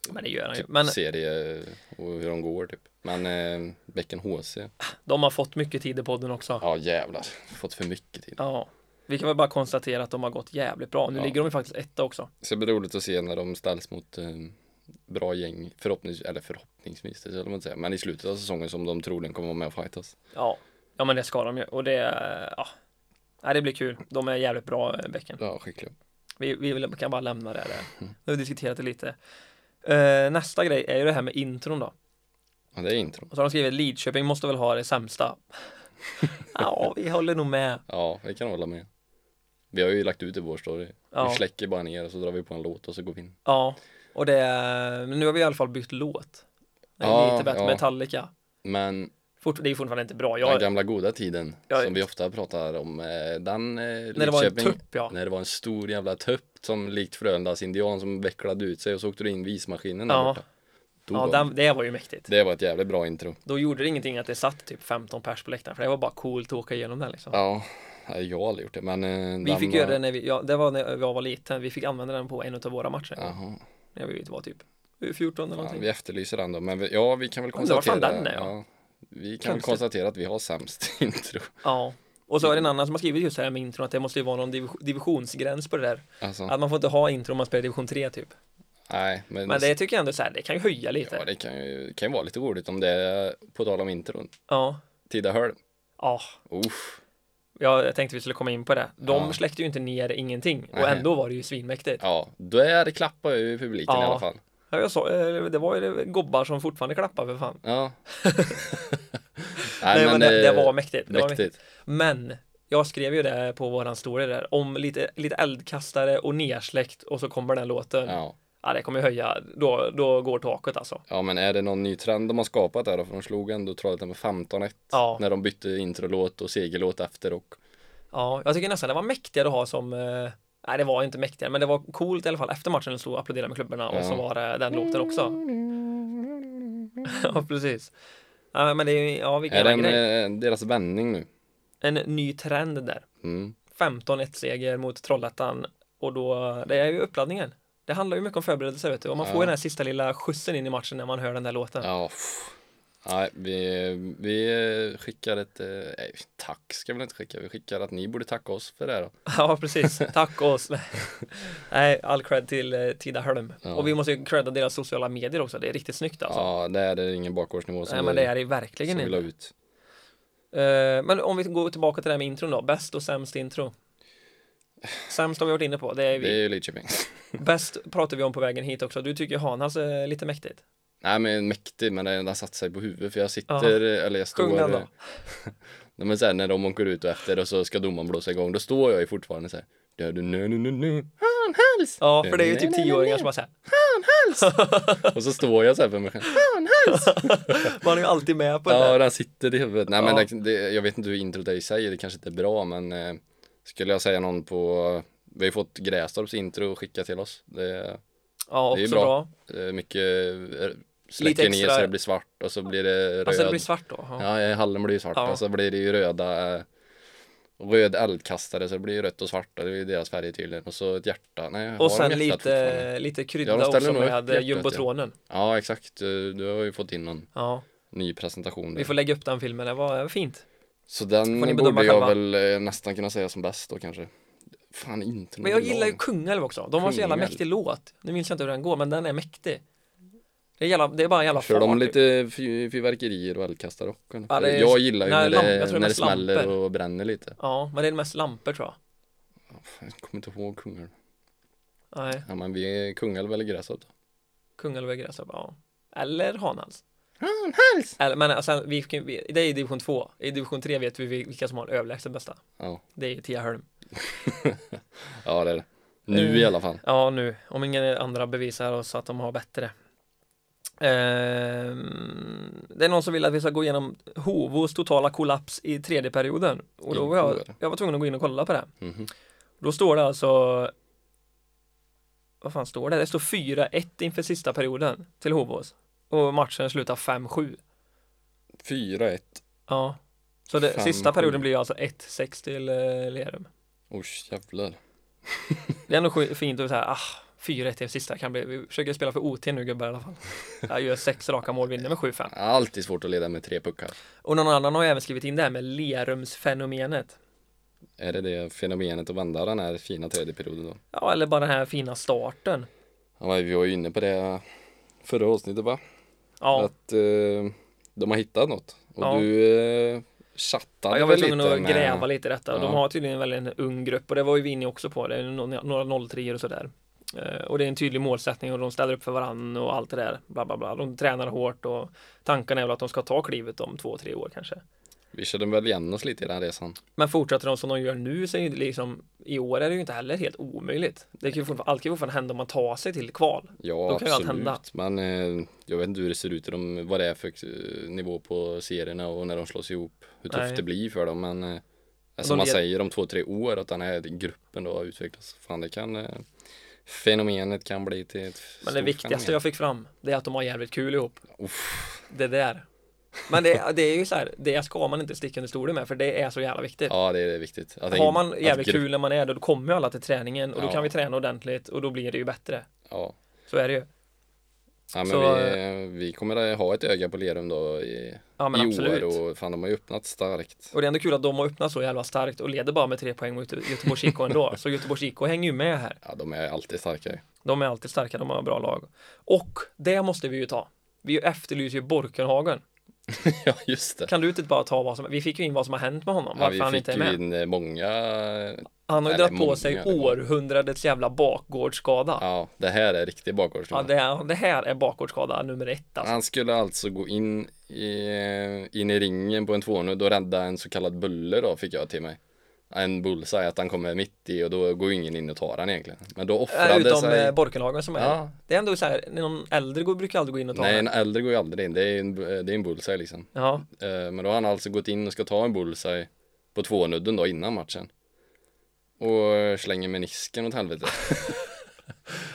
Men det gör han ju.
typ
Men
ser det eh, och hur de går typ. Men eh, bäcken HC,
de har fått mycket tid i podden också.
ja jävlar, fått för mycket tid.
Ja. Vi kan väl bara konstatera att de har gått jävligt bra. Nu
Ja.
ligger de ju faktiskt etta också.
Det ska bli roligt att se när de ställs mot eh, bra gäng, förhoppningsvis, eller förhoppningsvis, det ska man inte säga, men i slutet av säsongen som de troligen kommer vara med och fightas.
Ja, ja men det ska de ju och det, ja. Nej, det blir kul. De är jävligt bra, eh, bäcken.
Ja, skickliga.
Vi, vi vill- kan bara lämna det där. Nu har vi diskuterat det lite. Eh, nästa grej är ju det här med intron då.
Ja, det är intro.
Och så har de skrivit Lidköping måste väl ha det sämsta. (laughs) ja, vi håller nog med.
Ja, vi kan hålla med. Vi har ju lagt ut i vår story.
Ja.
Vi släcker bara ner och så drar vi på en låt och så går vi in.
Ja, och det, är- men nu har vi i alla fall bytt låt. Det är
Ja,
lite bättre
ja.
Metallica.
Men
Fort, det är fortfarande inte bra.
den
Jag,
gamla goda tiden
Ja.
som vi ofta pratar om, eh, den eh,
när det var en
Lidköping-
tupp ja.
När det var en stor jävla tupp som likt Frölundas indian som vecklade ut sig och så åkte du in vismaskinen där
Ja.
borta. Då
ja
var-
den, det var ju mäktigt.
Det var ett jävligt bra intro.
Då gjorde det ingenting att det satt typ 15 pers på läktaren för det var bara coolt att åka igenom den liksom.
Ja, nej, jag har aldrig gjort det men eh,
Vi
den
fick
var...
göra det när vi, ja, det var när jag var liten, vi fick använda den på en av våra matcher.
Jaha.
När vi var typ 14 eller
Ja,
någonting.
vi efterlyser den då, men vi, ja vi kan väl
Undrar vad
konstatera
fan den är, ja.
Vi kan väl
Konstigt.
konstatera att vi har sämst (laughs) intro
Ja. Och så är det en annan som har skrivit just det här med intron att det måste ju vara någon divis- divisionsgräns på det där.
Alltså,
Att man får inte ha intro om man spelar i division 3 typ.
nej men,
Men det tycker jag ändå så här, det kan ju höja lite.
Ja,
Ja.
det kan ju, kan ju vara lite roligt om det är på tal om intron.
Ja.
Tidaholm. Uff.
Ja, jag tänkte vi skulle komma in på det. De
Ja.
släckte ju inte ner ingenting och
Nej.
ändå var det ju svinmäktigt.
Ja, där klappar ju publiken i
Ja.
alla fall.
Ja, jag sa, eh, det var ju gobbar som fortfarande klappar för fan. (laughs)
Ja. eh,
Nej, men det, det var mäktigt. Det var mäktigt.
mäktigt.
Men jag skrev ju det på våran story där om lite, lite eldkastare och nersläckt och så kommer den låten. Ja,
Ja.
det kommer ju höja. Då, då går taket alltså.
ja, men är det någon ny trend de har skapat där då? För de slog ändå Trollhättan med 15-1
Ja.
när de bytte introlåt och segerlåt efter och
Ja, jag tycker nästan det var mäktigare att ha som eh, Nej det var inte mäktigare men det var coolt i alla fall efter matchen att stå och applådera med klubborna och
Ja.
så var det den låten också. (laughs) ja precis. Ja men det är ju, ja vilken
är det
jävla grej.
en, eh, deras vändning nu?
En ny trend där.
Mm.
15-1 seger mot Trollhättan och då, det är ju uppladdningen. Det handlar ju mycket om förberedelser vet du och man får
Ja.
ju den här sista lilla skjutsen in i matchen när man hör den där låten.
Ja, pff. Nej, vi, vi skickar ett, eh, nej, tack ska vi väl inte skicka, vi skickar att ni borde tacka oss för det här då.
(laughs) Ja, precis.
(laughs)
Tack och oss. (laughs) Nej, all cred till eh, Tidaholm.
Ja.
Och vi måste ju credda deras sociala medier också. Det är riktigt snyggt alltså.
Ja, det är det ingen bakgårdsnivå som,
Nej, men det är
vi,
det ju verkligen
som vi la
inte.
ut.
Eh, men om vi går tillbaka till det här med intron då. Bäst och sämst
(sighs)
intro. Sämst har vi varit inne på. Det är
Det
vi.
är ju Lidköping.
Bäst pratar vi om på vägen hit också. Du tycker ju Hanhals är lite mäktigt.
Nej men mäktig men den har satt sig på huvudet för jag sitter, eller jag står
Sjung den då.
(laughs) Nej men sen när de åker ut och efter och så ska domaren blåsa igång, då står jag ju fortfarande så här. Dö, du, nu, nu, nu, nu. Hanhals!
Ja, för det är ju typ tioåringar som bara säger
Och så står jag så här för
(laughs)
mig själv.
Man är ju alltid med på
(laughs)
det
Ja,
där.
den sitter i huvudet. Nej men
Ja.
det, det, jag vet inte hur introt är i sig, det kanske inte är bra men eh, skulle jag säga någon på, vi har ju fått Grästorps intro skickat till oss. Det,
Ja,
det är ju
också
bra.
bra.
eh, mycket eh, släcker ner
extra-
så det blir svart och så blir det röd.
Alltså det blir svart då? Ja.
Ja, eh, hallen blir ju svart
Ja.
och så blir det ju röda eh, Röd eldkastare så det blir ju rött och svart och det är ju deras färger tydligen och så ett hjärta. Nej, har de
och sen
hjärtat
lite,
fortfarande?
lite krydda
Ja, de ställer
också
nog upp
med
hjärtat, ja.
jumbotronen.
Ja exakt, du, du har ju fått in någon
Ja,
ny presentation
vi
där.
får lägga upp den filmen, det var det var fint.
Mm, Så
får ni
den
bedöma
borde jag
själva.
väl eh, nästan kunna säga som bäst då kanske Fan inte någon
Men jag gillar ju
lång.
Kungälv också, de har så jävla
Kungälv.
mäktig låt. Nu minns jag inte hur den går, men den är mäktig. Det är, jävla, det är bara en jävla
Kör
fart,
de
typ.
lite fyr- fyrverkerier och eldkastare också?
Ja, det är-
Jag gillar ju
nej,
när
lamp-
det,
jag tror det är
när det
mest
smäller
lampor.
och bränner lite
Ja, men det är mest lampor tror jag.
Jag kommer inte ihåg Kungälv
Nej,
Ja men vi är Kungälv eller Grästorp
Kungälv och Grästorp, ja. Eller Hanhals.
Hanhals!
Eller, men alltså, vi, vi, det är i division 2. I division 3 vet vi vilka som har den överlägset bästa.
Ja,
Det är Tia Holm.
ja det är det Nu i alla fall
Ja, nu. Om ingen andra bevisar oss att de har bättre. Ehm, det är någon som vill att vi ska gå igenom Hovos totala kollaps i tredje perioden. Och då var jag, jag var tvungen att gå in och kolla på det.
Mhm.
Då står det alltså Vad fan står det? Det står 4-1 inför sista perioden till Hovås. Och matchen slutar 5-7.
4-1
Ja. Så det,
5-7.
sista perioden blir ju alltså 1-6 till eh, Lerum.
Oj jävlar
Det är ändå sj- fint att säga ah, 4-1 till sista kan bli. Vi försöker spela för OT nu gubbar i alla
(laughs)
fall. Jag gör sex raka mål, vinner med 7-5.
Alltid svårt att leda med tre puckar
Och någon annan har ju även skrivit in det här med Lerumsfenomenet.
Är det det fenomenet att vända den här fina tredje perioden då?
Ja, eller bara den här fina starten.
Ja, men vi var ju inne på det förra avsnittet va?
Ja,
Att eh, de har hittat något och
Ja.
du eh, chattade
Ja, jag var
väl
tvungen
lite
att
med-
gräva lite i detta. De
Ja.
har tydligen väl en ung grupp och det var ju vi inne också på. Det är no- några 03 och sådär. Eh, Och det är en tydlig målsättning och de ställer upp för varann och allt det där. Bla, bla, bla. De tränar hårt och tanken är väl att de ska ta klivet om två, tre år kanske.
Vi körde väl igen oss lite i den resan.
Men fortsätter de som de gör nu så är det liksom i år är det ju inte heller helt omöjligt. Det kan ju fortfarande, allt kan ju fortfarande hända om man tar sig till kval.
Ja,
Då kan ju allt hända.
absolut. Men eh, jag vet inte hur det ser ut i dem, vad det är för eh, nivå på serierna och när de slås ihop. Hur tufft
Nej.
det blir för dem. Men eh,
de
som man
led-
säger om två, tre år att den här gruppen då har utvecklats. Fan, det kan eh, fenomenet kan bli till ett
Men det
stort
viktigaste
fenomen.
jag fick fram det är att de har jävligt kul ihop.
Uff,
Det där. Men det, det är ju så här, det ska man inte sticka under stolen med för det är så jävla viktigt.
ja, det är viktigt. Att
Har
en-
man
att
jävligt
grupp-
kul när man är där, då kommer ju alla till träningen och då
Ja.
kan vi träna ordentligt och då blir det ju bättre.
Ja.
Så är det ju.
Ja, men
Så,
vi, eh, vi kommer att ha ett öga på Lerum då i,
Ja men
i
absolut.
år
Och...
och fan de har ju öppnat starkt.
det är ändå kul att de har öppnat så jävla starkt och leder bara med tre poäng mot Göte- Göteborgs IK ändå. Så Göteborgs IK hänger ju med här.
Ja, de är alltid starka.
De är alltid starka, de har bra lag. Och det måste vi ju ta. Vi efterlyser ju Borkenhagen.
(laughs) ja, just det.
Kan du inte bara ta vad som, vi fick ju in vad som har hänt med honom,
Ja,
varför
vi
han
fick
inte är
ju
med.
in eh, många, eh,
Han har ju
Nej,
dragit på
många,
sig
det var-
århundradets jävla bakgårdsskada. Ja,
ja det här är riktig bakgårdsskada.
det, här- det här är bakgårdsskada nummer ett alltså.
Han skulle alltså gå in i, in i ringen på en tvånud och rädda en så kallad bulle då fick jag till mig. En bullseye att han kommer mitt i och då går ju ingen in och tar han egentligen. Men då
Äh,
offrade
Utom
sig.
eh, Borkenhagen som är
Ja.
Det är ändå så här, när någon äldre går, brukar aldrig gå in och ta
Nej,
den.
en äldre går ju aldrig in. Det är ju en, det är en bullseye liksom.
Ja,
Eh, Men då har han alltså gått in och ska ta en bullseye på tvånudden då innan matchen. Och slänger menisken åt helvete.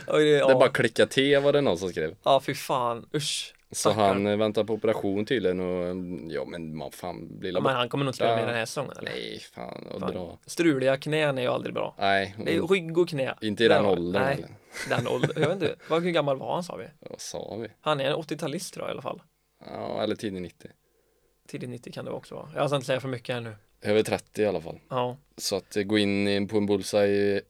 och det, ja.
Det bara klicka till var det någon som skrev.
ja fy fan, usch.
Så
Stackarn.
han eh, väntar på operation tydligen och mm, ja men man fan blir
Ja,
la
Men
bort.
han kommer nog inte spela med den här säsongen. Eller?
Nej fan och
Fan.
dra.
Struliga knän är ju aldrig bra.
Nej,
Det är ju rygg och knä.
inte i den
Där var-
åldern.
Nej,
Nej.
den åldern. Jag vet
(laughs)
inte, vad, hur gammal var han sa vi?
Vad sa vi?
Han är en 80-talist tror jag i alla fall.
Ja, eller tidigt 90.
Tidigt 90 kan det också vara. Jag ska inte säga för mycket här nu.
Över 30 i alla fall.
Ja,
Så att eh, gå in i- på en bullseye eh,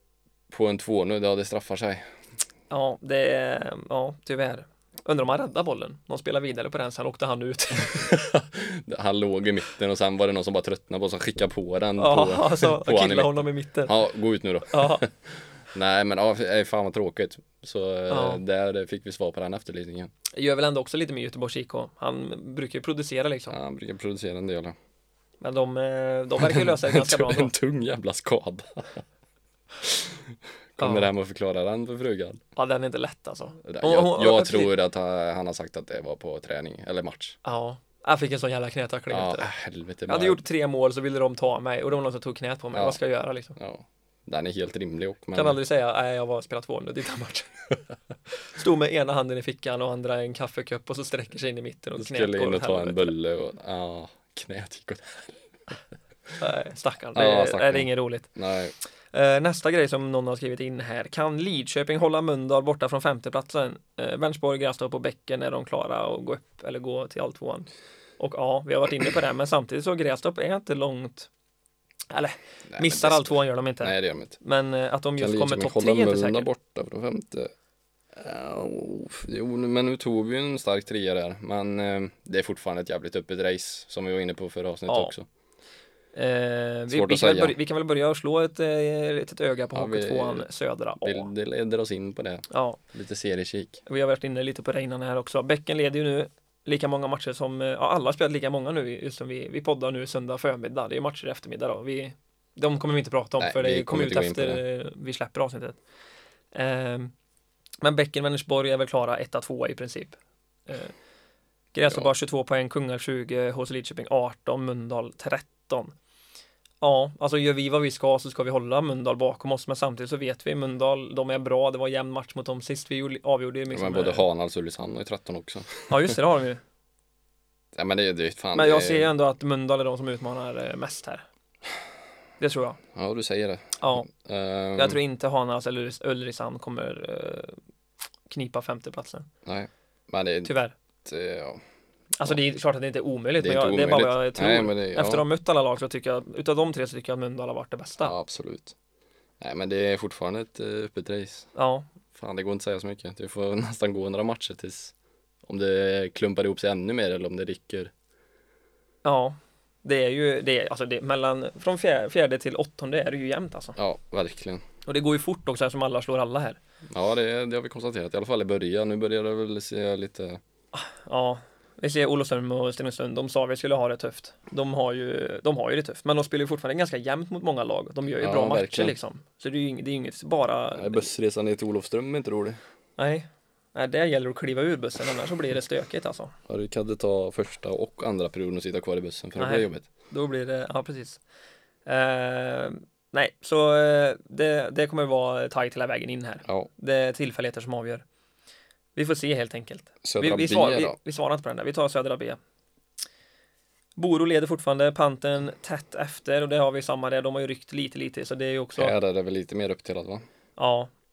på en tvånudd, ja det straffar sig. (laughs)
ja, det är, ja, tyvärr. Undrar om han räddade bollen. De spelar vidare på den, sen åkte han ut.
Han låg i mitten och sen var det någon som bara tröttnade på och som skickade (laughs) på den. på,
Ja, (laughs) så
på han i
killade
mitten.
honom i mitten.
Ja, gå ut nu då. (laughs)
Ja,
Nej men ja, f- eh, fan vad tråkigt. Så eh,
Ja.
där fick vi svar på den efterlysningen.
gör väl ändå också lite med Göteborgs IK. Han brukar ju producera liksom.
Ja, han brukar producera en del. ja.
Men de, eh, de verkar ju
(laughs)
lösa det ganska bra
en
ändå.
tung jävla skada. (laughs) Kommer hem och förklarar den för frugan.
Ja, den är inte lätt alltså. Och-
Jag,
och- och-
jag
och-
tror att han, han har sagt att det var på träning eller match.
Ja, jag fick en sån jävla knätackling.
Ja,
vet du.
helvete.
Jag hade
man-
gjort tre mål så ville de ta mig och det var någon som tog knät på mig.
Ja.
Vad ska jag göra liksom?
Ja, Den är helt rimlig och men
Kan aldrig säga, nej jag var och spelade tvål nu, det är
(laughs)
match. Stod med ena handen i fickan och andra i en kaffekopp och så sträcker sig in i mitten och knät
skulle
går
in och
åt
ta en
helvete.
bulle och ja, knät gick åt
Nej, Stackarn,
Ja,
det, är-
stackarn.
nej, det är inget roligt.
Nej,
Eh, nästa grej som någon har skrivit in här. Kan Lidköping hålla Mölndal borta från femteplatsen? Eh, Vänersborg, Grafstorp och Bäcken är de klara att gå upp eller gå till alltvåan. Och ja, vi har varit inne på det, men samtidigt så Grästorp är inte långt. Eller
nej,
missar
men det-
alltvåan gör de inte.
Nej, det gör de inte.
Men eh, att de
Kan
just kommer
Lidköping
topp
hålla
tre är inte säkert.
Mölndal borta från femte? Ja, uff, Jo, men nu tog vi ju en stark trea där, men eh, det är fortfarande ett jävligt öppet race som vi var inne på förra avsnittet
Ja.
också.
Eh, vi,
Svårt
vi,
att
kan väl
säga.
börja, vi kan väl börja och slå ett eh, litet öga på
Ja, vi-
HK2 södra
Det,
A.
det leder oss in på det,
Ja,
lite seriekik.
vi har varit inne lite på Reinan här också. Bäcken leder ju nu lika många matcher som, eh, ja alla har spelat lika många nu just som vi, vi poddar nu söndag förmiddag. Det är matcher i eftermiddag då. Vi, de kommer vi inte prata om
Nej,
för
vi
det kom
kommer
ut
inte gå in på
efter eh, vi släpper avsnittet. Ehm, men Bäcken Vänersborg är väl klara 1 2 i princip. Eh, Grästorp
Ja.
har 22 alltså poäng, Kungälv 20, HC Lidköping 18, Mölndal 13. Ja, alltså gör vi vad vi ska så ska vi hålla Mölndal bakom oss, men samtidigt så vet vi Mölndal, de är bra, det var jämn match mot dem sist vi gjorde- avgjorde. ju
Ja,
Liksom,
men både
eh,
Hanals och Ulricehamn har ju 13 också.
Ja just det, det har de ju.
Ja, men det är ju fan.
Men jag
det-
ser ju ändå att Mölndal är de som utmanar eh, mest här. Det tror jag.
Ja, du säger det.
Ja,
Ehm,
jag tror inte Hanas eller Ulris- Ulricehamn kommer eh, knipa femteplatsen.
Nej, men det är
Tyvärr.
inte, ja.
Alltså det är klart att Typ- det inte är omöjligt,
Det är
men jag,
inte
det är bara
omöjligt.
vad jag tror.
Nej, men det- ja.
Efter att ha mött alla lag så tycker jag, utav de tre så tycker jag att Mölndal har varit det bästa. Ja.
ja, absolut. Nej, men det är fortfarande ett eh, öppet race. Fan, det går inte att säga så mycket. Du får (laughs) nästan gå några matcher tills om det klumpar ihop sig ännu mer eller om det rycker.
Ja, det är ju, det är, alltså det, mellan, från fjärde, fjärde till åttonde är det ju jämnt alltså.
Ja, verkligen.
Och det går ju fort också eftersom alla slår alla här.
Ja, det, det har vi konstaterat i alla fall i början. Nu börjar det väl se lite,
Ja, vi ser Olofström och Stenungsund, de sa vi skulle ha det tufft. De har ju, de har ju det tufft, men de spelar ju fortfarande ganska jämnt mot många lag. De gör ju
Ja,
bra matcher
verkligen.
liksom. Så det är ju inget, det är ju inget bara,
nej, bussresan ner till Olofström är inte rolig.
nej. Nej, det gäller att kliva ur bussen, annars så blir det stökigt alltså.
Ja, du kan inte ta första och andra perioden och sitta kvar i bussen för det
Nej.
blir jobbigt.
Då blir det, ja precis. Eh, nej, så eh, det, det kommer vara tajt hela vägen in här.
Ja,
Det är tillfälligheter som avgör. Vi får se helt enkelt. Vi, vi,
Södra B
svar, vi,
då.
vi svarar inte på den där, vi tar Södra B. Boro leder fortfarande, Panten tätt efter och det har vi samma där, de har ju ryckt lite lite så det är ju också, ja,
Här är det väl lite mer uppdelat va?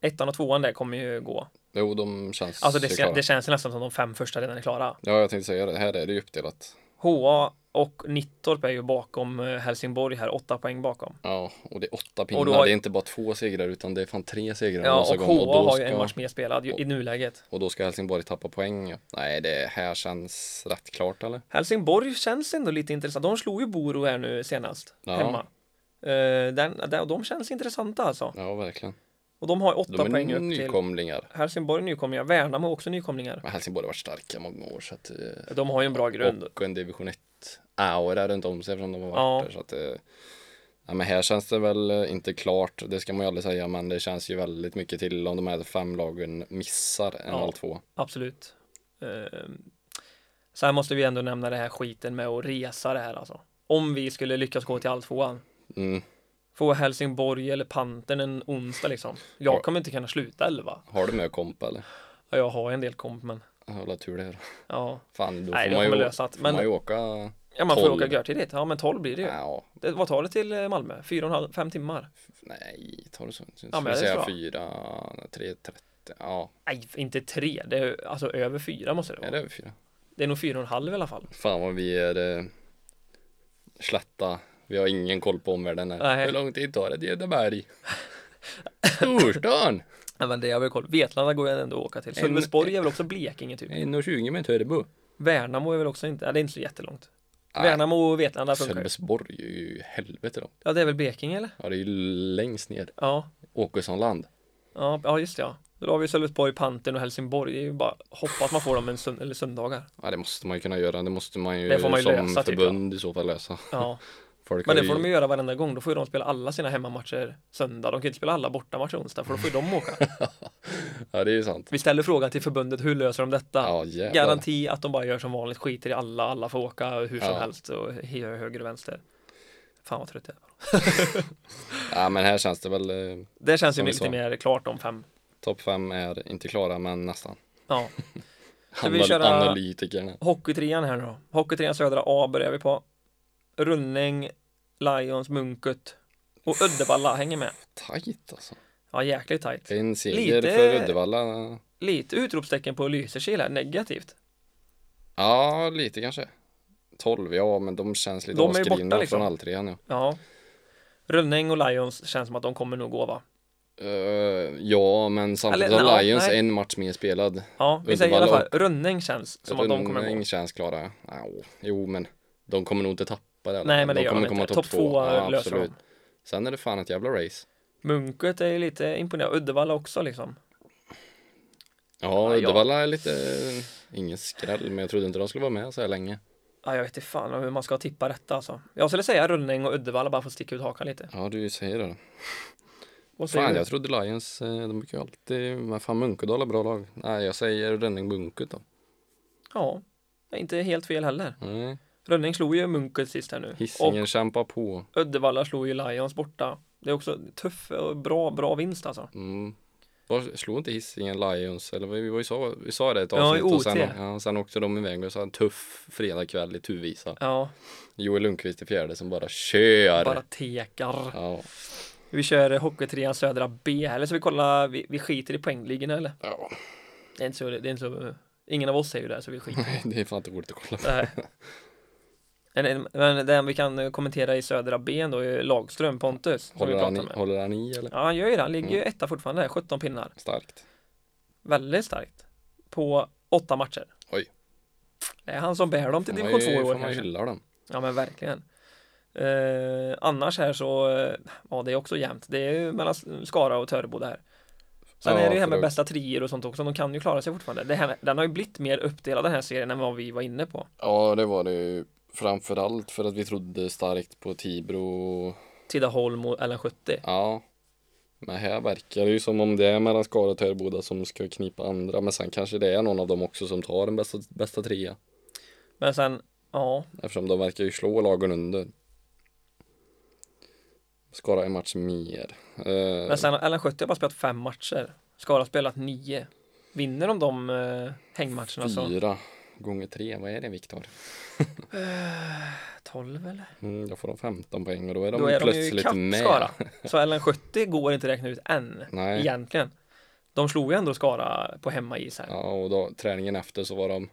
ettan och tvåan där kommer ju gå.
Jo, de känns
Alltså det,
ju
ska,
klara.
det känns ju nästan som de fem första redan är klara.
Ja, jag tänkte säga det. Här är det ju uppdelat.
HA och Nittorp är ju bakom eh, Helsingborg här, åtta poäng bakom.
Ja, och det är åtta pinnar.
då har-
Det är inte bara två segrar utan det är fan tre segrar.
Ja,
nästa
och
gång.
HA
då
har ju en
ska-
match mer spelad ju, i nuläget.
Och då ska Helsingborg tappa poäng. ja. Nej, det här känns rätt klart eller?
Helsingborg känns ändå lite intressant. De slog ju Boro här nu senast,
Ja.
hemma. Eh, den, den, de känns intressanta alltså.
Ja, verkligen.
Och de har åtta
De
poäng
är
upp till
nykomlingar.
Helsingborg nykomlingar, Värnamo också nykomlingar.
Men Helsingborg har varit starka många år så att... eh,
De har ju en bra grund.
Och en division 1 aura runt om sig eftersom de har varit
Ja.
där så att eh, Ja, men här känns det väl eh, inte klart, det ska man ju aldrig säga, men det känns ju väldigt mycket till om de här fem lagen missar en
Ja.
all två.
Absolut. Eh, sen måste vi ändå nämna det här skiten med att resa det här alltså. Om vi skulle lyckas gå till alltvåan.
Mm.
Få Helsingborg eller Pantern en onsdag liksom. Jag
Ja.
kommer inte kunna sluta elva.
Har du med komp eller?
Ja, Jag har en del komp men
Jävla tur det. är.
ja.
Fan, då
Nej, det
får, man ju,
kommer lösa att-
får
men-
man ju åka...
Ja man får
12.
åka görtidigt. Ja men 12 blir det ju.
Ja,
Det, vad tar det till eh, Malmö? Fyra och en halv, fem timmar?
nej, tar du så? Jag
men
skulle
det tror
säga
jag.
fyra, tre, trettio. Ja,
Nej, inte tre. Det är, alltså över fyra måste det vara.
är det över fyra?
Det är nog fyra och en halv i alla fall.
Fan vad vi är eh, slätta. Vi har ingen koll på omvärlden här.
Nej.
Hur lång tid tar det till Göteborg?
(laughs)
Storstan!
Ja, men det har vi koll. Vetlanda går jag ändå att åka till. Sölvesborg är väl också Blekinge typ.
1,20 med turbo.
Värnamo är väl också inte, ja, det är inte så jättelångt.
Nej.
Värnamo och Vetlanda funkar ju.
Sölvesborg är ju helvete långt.
Ja, det är väl Blekinge eller?
Ja, det är ju längst ner.
Ja,
Åkesson-land.
ja, ja just det, ja. Då har vi Sölvesborg, Pantern och Helsingborg. Det är ju bara hoppas man får dem en sund, eller söndagar.
Ja, det måste man ju kunna göra. Det måste man ju,
Det får man ju
som
lösa, typ,
förbund i så
(laughs)
fall lösa.
Ja,
Folk
men
har
det får
ju-
de ju göra varenda gång. Då får ju de spela alla sina hemmamatcher söndag. De kan ju inte spela alla bortamatcher onsdag, för då får ju de (laughs) åka.
Ja, det är ju sant.
Vi ställer frågan till förbundet, hur löser de detta?
Ja, jävlar.
Garanti att de bara gör som vanligt, skiter i alla, alla får åka hur som
Ja.
helst och hö- höger och vänster. Fan vad trött jag är.
Ja, men här känns det väl, eh,
Det känns ju
Som vi
lite
sa.
mer klart om fem.
topp fem är inte klara men nästan.
Ja. Ska vi
Anal-
köra-
Analytikerna.
Hockeytrean här nu då. Hockeytrean Södra A börjar vi på. Rönning, Lions, Munket och Uddevalla hänger med.
Tajt alltså.
Ja, jäkligt tajt.
En seger
Lite-
för Uddevalla.
Lite utropstecken på Lysekil här, negativt.
Ja, lite kanske. 12, ja men de känns lite
De är ju
avskrivna
borta, liksom.
från alltrean ja.
Ja. Rönning och Lions känns som att de kommer nog gå va?
Eh, ja, men samtidigt
Eller,
har
nej,
Lions
nej.
en match mer spelad.
Ja, vi säger i alla
Uddevalla
fall Rönning känns som att de kommer gå.
Rönning känns klara. Ja, jo, men de kommer nog inte tappa det. i alla
Nej,
fall.
men det
de
gör
kommer
de
komma
inte.
topp
Topp
två.
två
Ja,
löser de.
absolut. Sen är det fan ett jävla race.
Munket är ju lite imponerande. Uddevalla också liksom.
Ja,
Ja, ja.
Uddevalla är lite, eh, ingen skräll, men jag trodde inte de skulle vara med så här länge.
Ja, jag vet inte fan hur man ska tippa detta alltså. Jag skulle säga Rönning och Uddevalla bara för att sticka ut hakan lite.
Ja, du säger det.
Vad säger
Fan,
du?
jag trodde Lions, eh, de brukar ju alltid, men fan Munkedal är bra lag. Nej, jag säger Rönning Munket då.
Ja, det är inte helt fel heller.
Nej.
Rönning slog ju Munket sist här nu.
Hisingen kämpar på.
Och Uddevalla slog ju Lions borta. Det är också tuff och bra, bra vinst alltså.
Mm. Var, slog inte Hisingen Lions, eller vad- vi, var ju sa, vi sa det i ett
Ja, i
avsnitt och sen,
OT.
ja, sen åkte de iväg och sa en tuff fredagkväll i Tuvisa.
Ja,
Joel Lundqvist i fjärde som bara kör.
bara tekar.
Ja.
Vi kör eh, Hockeytrean Södra B här. Eller så vi kollar, vi, vi skiter i poängligorna eller?
ja. (laughs)
Det är inte så, det är inte så, eh, ingen av oss är ju där så vi skiter
Nej, det är fan inte roligt att kolla på.
Nej.
(laughs)
Men- Men den vi kan eh, kommentera i Södra B ändå är ju Lagström, Pontus. Som vi
Håller han,
pratar
i,
med.
håller han i eller?
Ja, han gör ju det. Han ligger
Mm.
ju etta fortfarande, här, 17 pinnar.
Starkt.
Väldigt starkt. På åtta matcher.
Oj.
Det är han som bär dem till
Får man
division 2 i
ju-
år
får man ju
kanske.
hylla dem.
Ja men verkligen. Eh, annars här så, eh, ja det är också jämnt. Det är ju mellan Skara och Töreboda här. Sen
Ja,
är det ju det här
för
med
det-
bästa trior och sånt också. De kan ju klara sig fortfarande. Det här, den har ju blivit mer uppdelad den här serien än vad vi var inne på.
Ja, det var det ju. Framförallt för att vi trodde starkt på Tibro.
Tidaholm och LN70.
Ja. Men här verkar det ju som om det är mellan Skara och Töreboda som ska knipa andra. Men sen kanske det är någon av dem också som tar den bästa, bästa trea.
Men sen, ja,
Eftersom de verkar ju slå lagen under. Skara en match mer. Eh,
men sen har LN70 har bara spelat fem matcher. Skara har spelat nio. Vinner de de eh, hängmatcherna så?
Fyra gånger tre, vad är det Viktor?
12 eller?
Mm, då får de 15 poäng och då är de
Då är de ju
plötsligt
ikapp
med. (laughs)
Skara. Så LN70 går inte att räkna ut än.
Nej.
Egentligen. De slog ju ändå Skara på hemmais här.
Ja, och då träningen efter så var de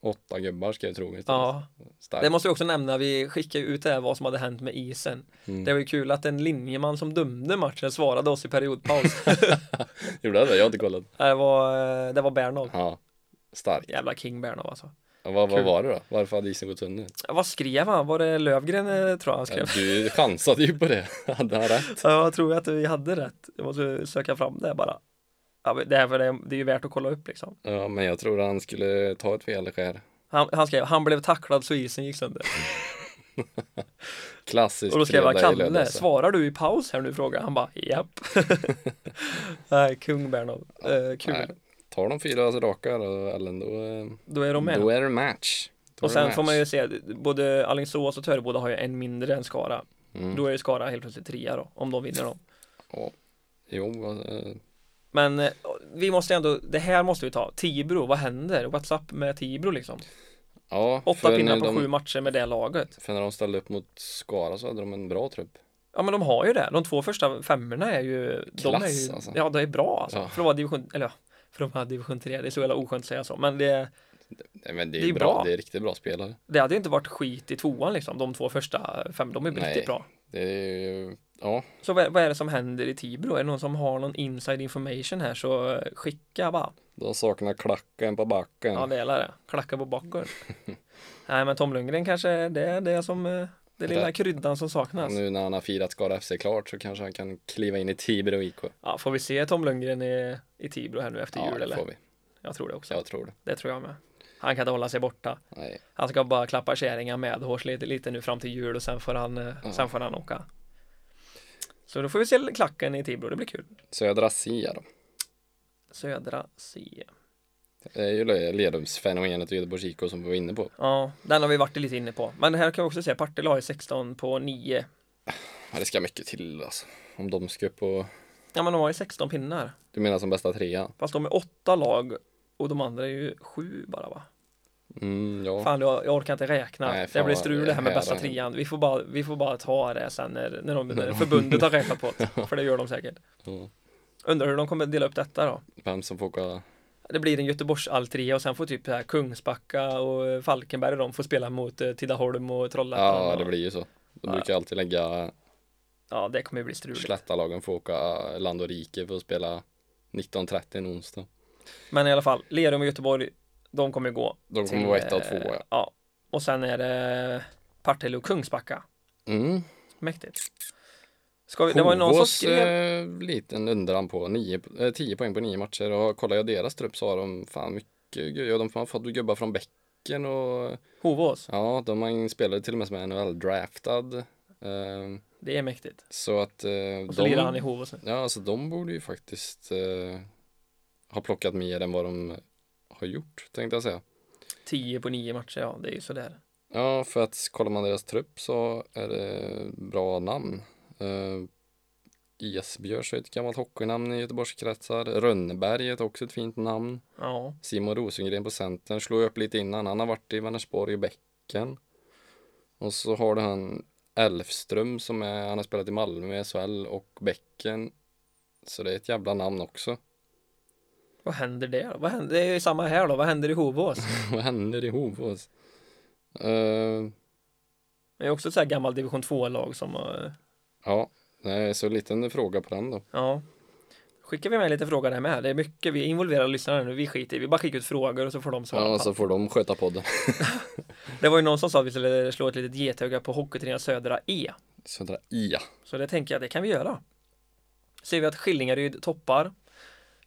åtta gubbar ska jag tro.
Ja,
Starkt.
det måste vi också nämna. Vi skickade ju ut det här vad som hade hänt med isen.
Mm.
Det var ju kul att en linjeman som dömde matchen svarade oss i
(laughs)
periodpaus.
Gjorde han det? Jag har inte kollat.
det var, eh, det var Bernhoff.
Ja, starkt.
Jävla King Bernhoff alltså.
Ja, Vad,
Kul.
vad var det då? Varför hade isen gått sönder?
Vad skrev han? Var det Lövgren eh, tror jag han skrev?
Du chansade ju på det. (laughs) Hade han rätt?
Ja, jag tror att vi hade rätt. Jag måste söka fram det bara. Ja, men det, är för det, det är ju värt att kolla upp liksom.
Ja, men jag tror han skulle ta ett felskär.
Han, han skrev, han blev tacklad så isen gick sönder.
Klassisk
Och då skrev jag
fredag i
Kalle,
lördags.
svarar du i paus här nu frågar Han bara japp. (laughs) Nej, kung Bernhoff. Eh, kul.
Nej. Tar de fyra raka då, Ellen, då, eh,
Då är de med.
då är det match. Då
och
är det
sen
match.
får man ju se, både Alingsås och Töreboda har ju en mindre än Skara.
Mm.
Då är ju Skara helt plötsligt trea då, om de vinner dem.
Ja. Jo, eh,
Men eh, vi måste ändå, det här måste vi ta. Tibro, vad händer? WhatsApp med Tibro liksom.
ja.
Åtta
för när
pinnar på
de,
sju matcher med det laget.
För när de ställde upp mot Skara så hade de en bra trupp.
Ja men de har ju det. De två första femmorna är ju de är
Klass,
ju,
alltså.
Ja, det är bra alltså.
Ja.
För att vara division, eller ja, för att vara division 3, det är så jävla oskönt att säga så. Men det,
Nej, men det är,
Det är
ju bra.
bra.
Det är riktigt bra spelare.
Det hade ju inte varit skit i tvåan liksom, de två första fem, de är
Nej.
riktigt bra.
Det är ju, ja.
Så vad, vad är det som händer i Tibro? Är det någon som har någon inside information här så eh, skicka bara.
De saknar klacken på backen.
Ja, det gäller det. Klacka på
(laughs)
bakgården. Nej, men Tom Lundgren kanske, det är det som, eh, det lilla
Rätt.
kryddan som saknas.
Nu när han har firat Skara FC klart så kanske han kan kliva in i Tibro IK.
Ja, får vi se Tom Lundgren i, i Tibro här nu efter
Ja,
jul
det
eller?
får vi.
Jag tror det också.
Jag tror det.
Det tror jag med. Han kan inte hålla sig borta.
Nej.
Han ska bara klappa kärringar med lite, lite nu fram till jul och sen får han, eh, sen får han åka. Så då får vi se klacken i Tibro, det blir kul.
Södra Sia då.
Södra C.
Det är ju le- Lerumsfenomenet och Göteborgs IK som vi var inne på.
Ja, den har vi varit lite inne på. Men här kan vi också se Partille har ju 16 på 9
Ja, det ska mycket till alltså. Om de ska upp på,
Ja men de har ju 16 pinnar.
du menar som bästa trean?
Fast de är åtta lag och de andra är ju sju bara va?
Mm, ja.
Fan jag, jag orkar inte räkna.
Nej,
det
fan,
blir strul det här med
här
bästa
är-
trean. Vi får, bara, vi får bara ta det sen när, när, de, när förbundet har räknat på
(laughs)
det. För det gör de säkert.
Ja.
Undrar hur de kommer dela upp detta då?
Vem som får åka,
Det blir en Göteborgs alltrea och sen får typ så här Kungsbacka och Falkenberg och de får spela mot eh, Tidaholm och Trollhättan.
ja det
och,
blir ju så. De
Ja.
brukar alltid lägga
ja, det kommer ju bli struligt.
Slättalagen får åka land och rike för att spela 19.30 en onsdag.
Men i alla fall, Lerum och Göteborg, de kommer ju gå.
De kommer
till,
vara etta och
eh,
tvåa.
Ja. Och sen är det Partille och Kungsbacka.
ja. Mm.
Mäktigt. Ska vi, det var ju någon som
Hovås,
skrev
eh, liten undran på 9, eh, 10 poäng på 9 matcher och kollar jag deras trupp så har de fan mycket, ja de har fått gubbar från bäcken och
Hovås.
ja de har en spelare till och med som är NHL-draftad. Eh,
Det är mäktigt.
så att eh,
Och så lirar han i Hovås nu.
ja alltså de borde ju faktiskt eh, ha plockat mer än vad de har gjort tänkte jag säga.
10 på 9 matcher, ja det är ju sådär.
Ja, för att kollar man deras trupp så är det bra namn. Uh, Esbjörs är ett gammalt hockeynamn i Göteborgskretsar. Rönneberg är ett- också ett fint namn.
Ja.
Simon Rosengren på centern slog jag upp lite innan. Han har varit i Vänersborg och Bäcken. Och så har du han Elfström som är, han har spelat i Malmö, SHL och Bäcken. Så det är ett jävla namn också. (laughs)
Vad händer det då? Vad händer? Det är ju samma här då. Vad händer i Hovås?
Vad händer i Hovås? Eh,
Det är också ett så här gammalt division 2-lag som eh,
ja, nej, så liten fråga på den då.
Ja. Skickar vi med lite frågor där med. Det är mycket, vi involverar lyssnarna nu. Vi skiter i, vi bara skickar ut frågor och så får de svara.
Ja,
på
så
allt.
får de sköta podden. (laughs)
Det var ju någon som sa att vi skulle slå ett litet getöga på Hockeytrean Södra E.
Södra Ia.
Så det tänker jag, det kan vi göra. Ser vi att Skillingaryd toppar.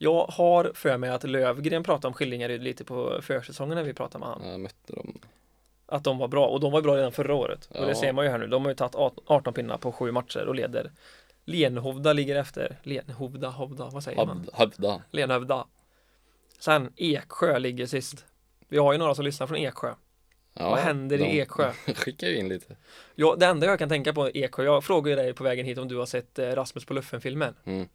Jag har för mig att Lövgren pratade om Skillingaryd lite på försäsongen när vi pratade med han.
Jag mötte dem.
Att de var bra och de var bra redan förra året. Och det
Ja.
ser man ju här nu. De har ju tagit 18 pinnar på sju matcher och leder. Lenhovda ligger efter. Lenhovda, Hovda, vad säger man?
Hav- Havda.
Lenövda. Sen Eksjö ligger sist. Vi har ju några som lyssnar från Eksjö.
Ja,
Vad händer
de (laughs)
i Eksjö?
Skickar ju in lite.
Ja, det enda jag kan tänka på är Eksjö, jag frågade dig på vägen hit om du har sett eh, Rasmus på luffen-filmen.
Mm.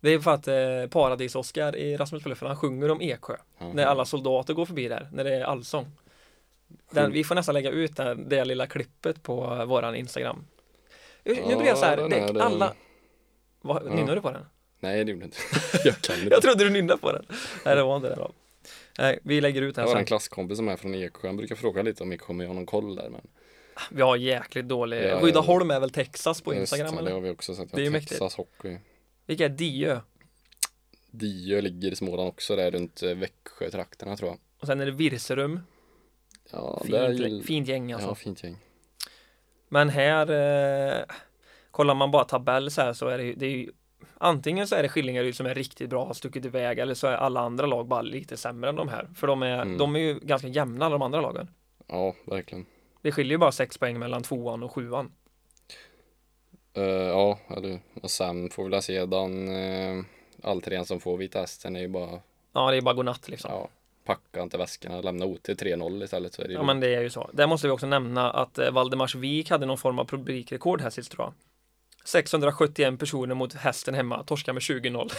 Det är för att eh, Paradis-Oskar i Rasmus på luffen, han sjunger om Eksjö.
Ja.
När alla soldater går förbi där, när det är allsång. Den, vi får nästan lägga ut den, det lilla klippet på eh, våran Instagram. Nu nu blir jag så här,
Ja, den
det,
är- den-
alla... Vad,
Ja.
Nynnar du på den?
Nej, det gjorde jag
(laughs)
inte. jag kan inte.
Jag trodde du nynnade på den. Nej, det var inte det då. Nej, vi lägger ut
Det
den
var
sen.
en klasskompis som är från Eksjö. Han brukar fråga lite om Eksjö, om jag har någon koll där. Men
Vi har jäkligt dålig,
Ja, ja, ja.
Rydaholm är väl Texas på
Just,
Instagram
ja, Det
eller?
har vi också sett.
Det är
Ja,
ju
Texas hockey.
Vilka är Diö?
Diö ligger i Småland också där runt eh, Växjötrakterna tror jag.
Och sen är det Virserum.
Ja,
Fint,
där,
gäng- fint gäng alltså.
Ja, fint gäng.
Men här eh, kollar man bara tabell så här så är det, ju- det är ju Antingen så är det Skillingaryd som är riktigt bra, har stuckit iväg eller så är alla andra lag bara lite sämre än de här. För de är,
Mm.
de är ju ganska jämna alla de andra lagen.
Ja, verkligen.
Det skiljer ju bara sex poäng mellan tvåan och sjuan.
Eh, ja, eller och sen får vi väl se. Dan, uh, alltrean som får Vita Hästen är ju bara
Ja, det är bara godnatt liksom.
Ja, packa inte väskorna, lämna OT 3-0 istället så är det
Ja men det är ju så. Där måste vi också nämna att eh, Valdemarsvik hade någon form av publikrekord här sist tror jag. 671 personer mot hästen hemma, torska med 20-0.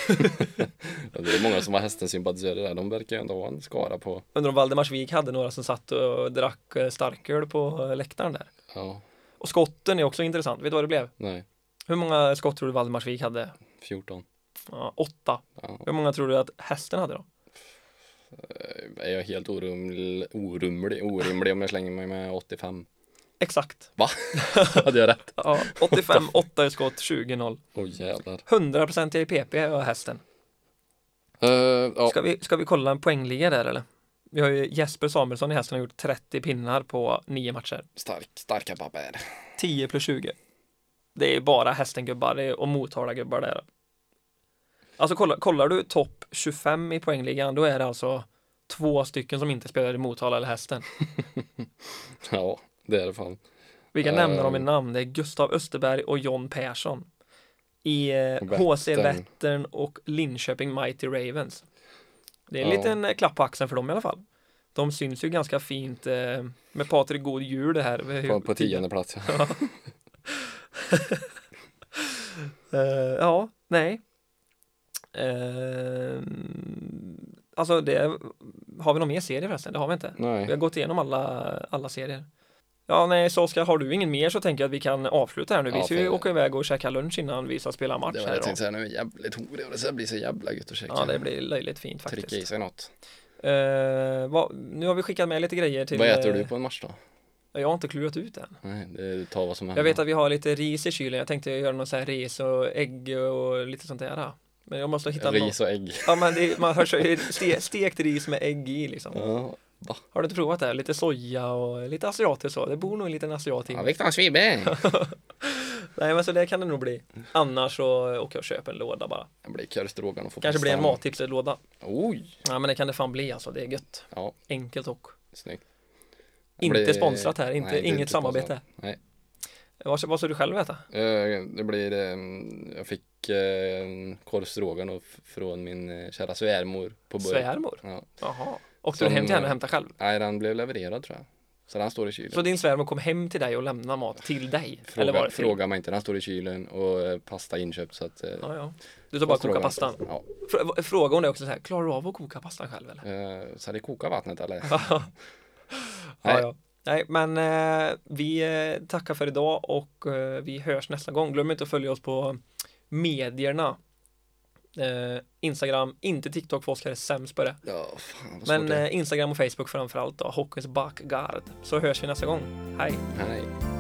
Ja, det är många som har hästen sympatisörer där, de verkar ju ändå ha en skara på.
Undrar om Valdemarsvik hade några som satt och drack eh, starköl på eh, läktaren där.
Ja,
Och skotten är också intressant. Vet du vad det blev?
nej,
Hur många skott tror du Valdemarsvik hade?
14.
Ja, åtta.
Ja,
Hur många tror du att hästen hade då?
är jag helt oruml, orumlig, orimlig om jag slänger mig med 85?
Exakt.
Va? (laughs) Hade jag rätt?
Ja, 85, 8 i skott, 20-0.
Åh jävlar.
100% i PP och hästen.
Eh, ja,
Ska vi, ska vi kolla en poängliga där eller? Vi har ju Jesper Samuelsson i hästen har gjort 30 pinnar på 9 matcher.
stark, starka papper.
10 plus 20. Det är ju bara hästengubbar det är- och Motala-gubbar där. Alltså kolla, kollar du topp 25 i poängligan, då är det alltså två stycken som inte spelar i Motala eller hästen.
(laughs) Ja, det är det fan.
Vi kan nämna dem i
Ehm.
namn. Det är Gustav Österberg och John Persson. I eh,
Och
HC
Vättern.
Vättern och Linköping Mighty Ravens. Det är en
Ja.
liten eh, klapp på axeln för dem i alla fall. De syns ju ganska fint eh, med Patrik God Jul det här. (laughs)
På, på tionde plats. ja.
Eh, ja, nej. Eh, alltså, det, har vi någon mer serie förresten? Det har vi inte. Vi
Nej.
har gått igenom alla, alla serier. Ja, nej, så Oskar, har du ingen mer så tänker jag att vi kan avsluta här nu. Vi
Ja,
ska
för-
ju åka iväg och käka lunch innan vi ska spela match
Det var det
här.
jag
idag.
tänkte säga, nu är jag jävligt hungrig och det ska bli så jävla gött att käka.
Ja, det blir löjligt fint
Trycka i
faktiskt.
sig något.
Eh, vad, nu har vi skickat med lite grejer till...
Vad äter
eh,
du på en match då?
Jag har inte klurat ut än.
Nej, det tar vad som händer.
Jag vet att vi har lite ris i kylen. Jag tänkte göra någon sån här ris och ägg och lite sånt där. Men jag måste hitta någon.
Ris och ägg.
Ja, men det, man har ju ste, stekt ris med ägg i liksom.
Ja, va?
Har du inte provat det? här? Lite soja och lite asiatiskt så. Det bor nog en liten asiat i mig.
Ja,
(laughs)
Viktor Sviberg.
Nej men så det kan det nog bli. Annars så åker jag och köper en låda bara.
Det blir korvstrågan och få
Kanske blir en
pastan.
mattipset-låda.
Oj!
Ja men det kan det fan bli alltså. Det är gött.
Ja,
Enkelt och.
snyggt. Det
Inte
blir-
sponsrat här. Inte,
Nej, det är
inget
inte
samarbete.
sponsrat. Nej.
Vad, vad ska du själv äta?
Eh, Det blir, eh, jag fick eh, korvstrågan och f- från min eh, kära svärmor på burk.
Svärmor?
Ja.
Jaha. Åkte
Som- eh,
du hem till henne och hämtade själv?
Nej, den blev levererad tror jag. Så den står i kylen.
Så din svärmor kom hem till dig och lämnade mat till dig? Eller var
Fråga,
det till?
fråga mig inte, den står i kylen och eh, pasta inköpt så att eh,
Ja, ja. Du tar bara och kokar
korvstrågan-
pastan.
Ja,
Frå- Frågar hon dig också så här, klarar du av att koka pastan själv eller?
eh, så det kokar vattnet eller?
ja,
Nej.
ja. Nej, men eh, vi eh, tackar för idag och eh, vi hörs nästa gång. Glöm inte att följa oss på medierna. Eh, Instagram, inte TikTok för Oskar är sämst på det.
Ja, fan vad svårt
Men
det är.
eh, Instagram och Facebook framförallt då, Hockeyns bakgard. Så hörs vi nästa gång. Hej!
Nej.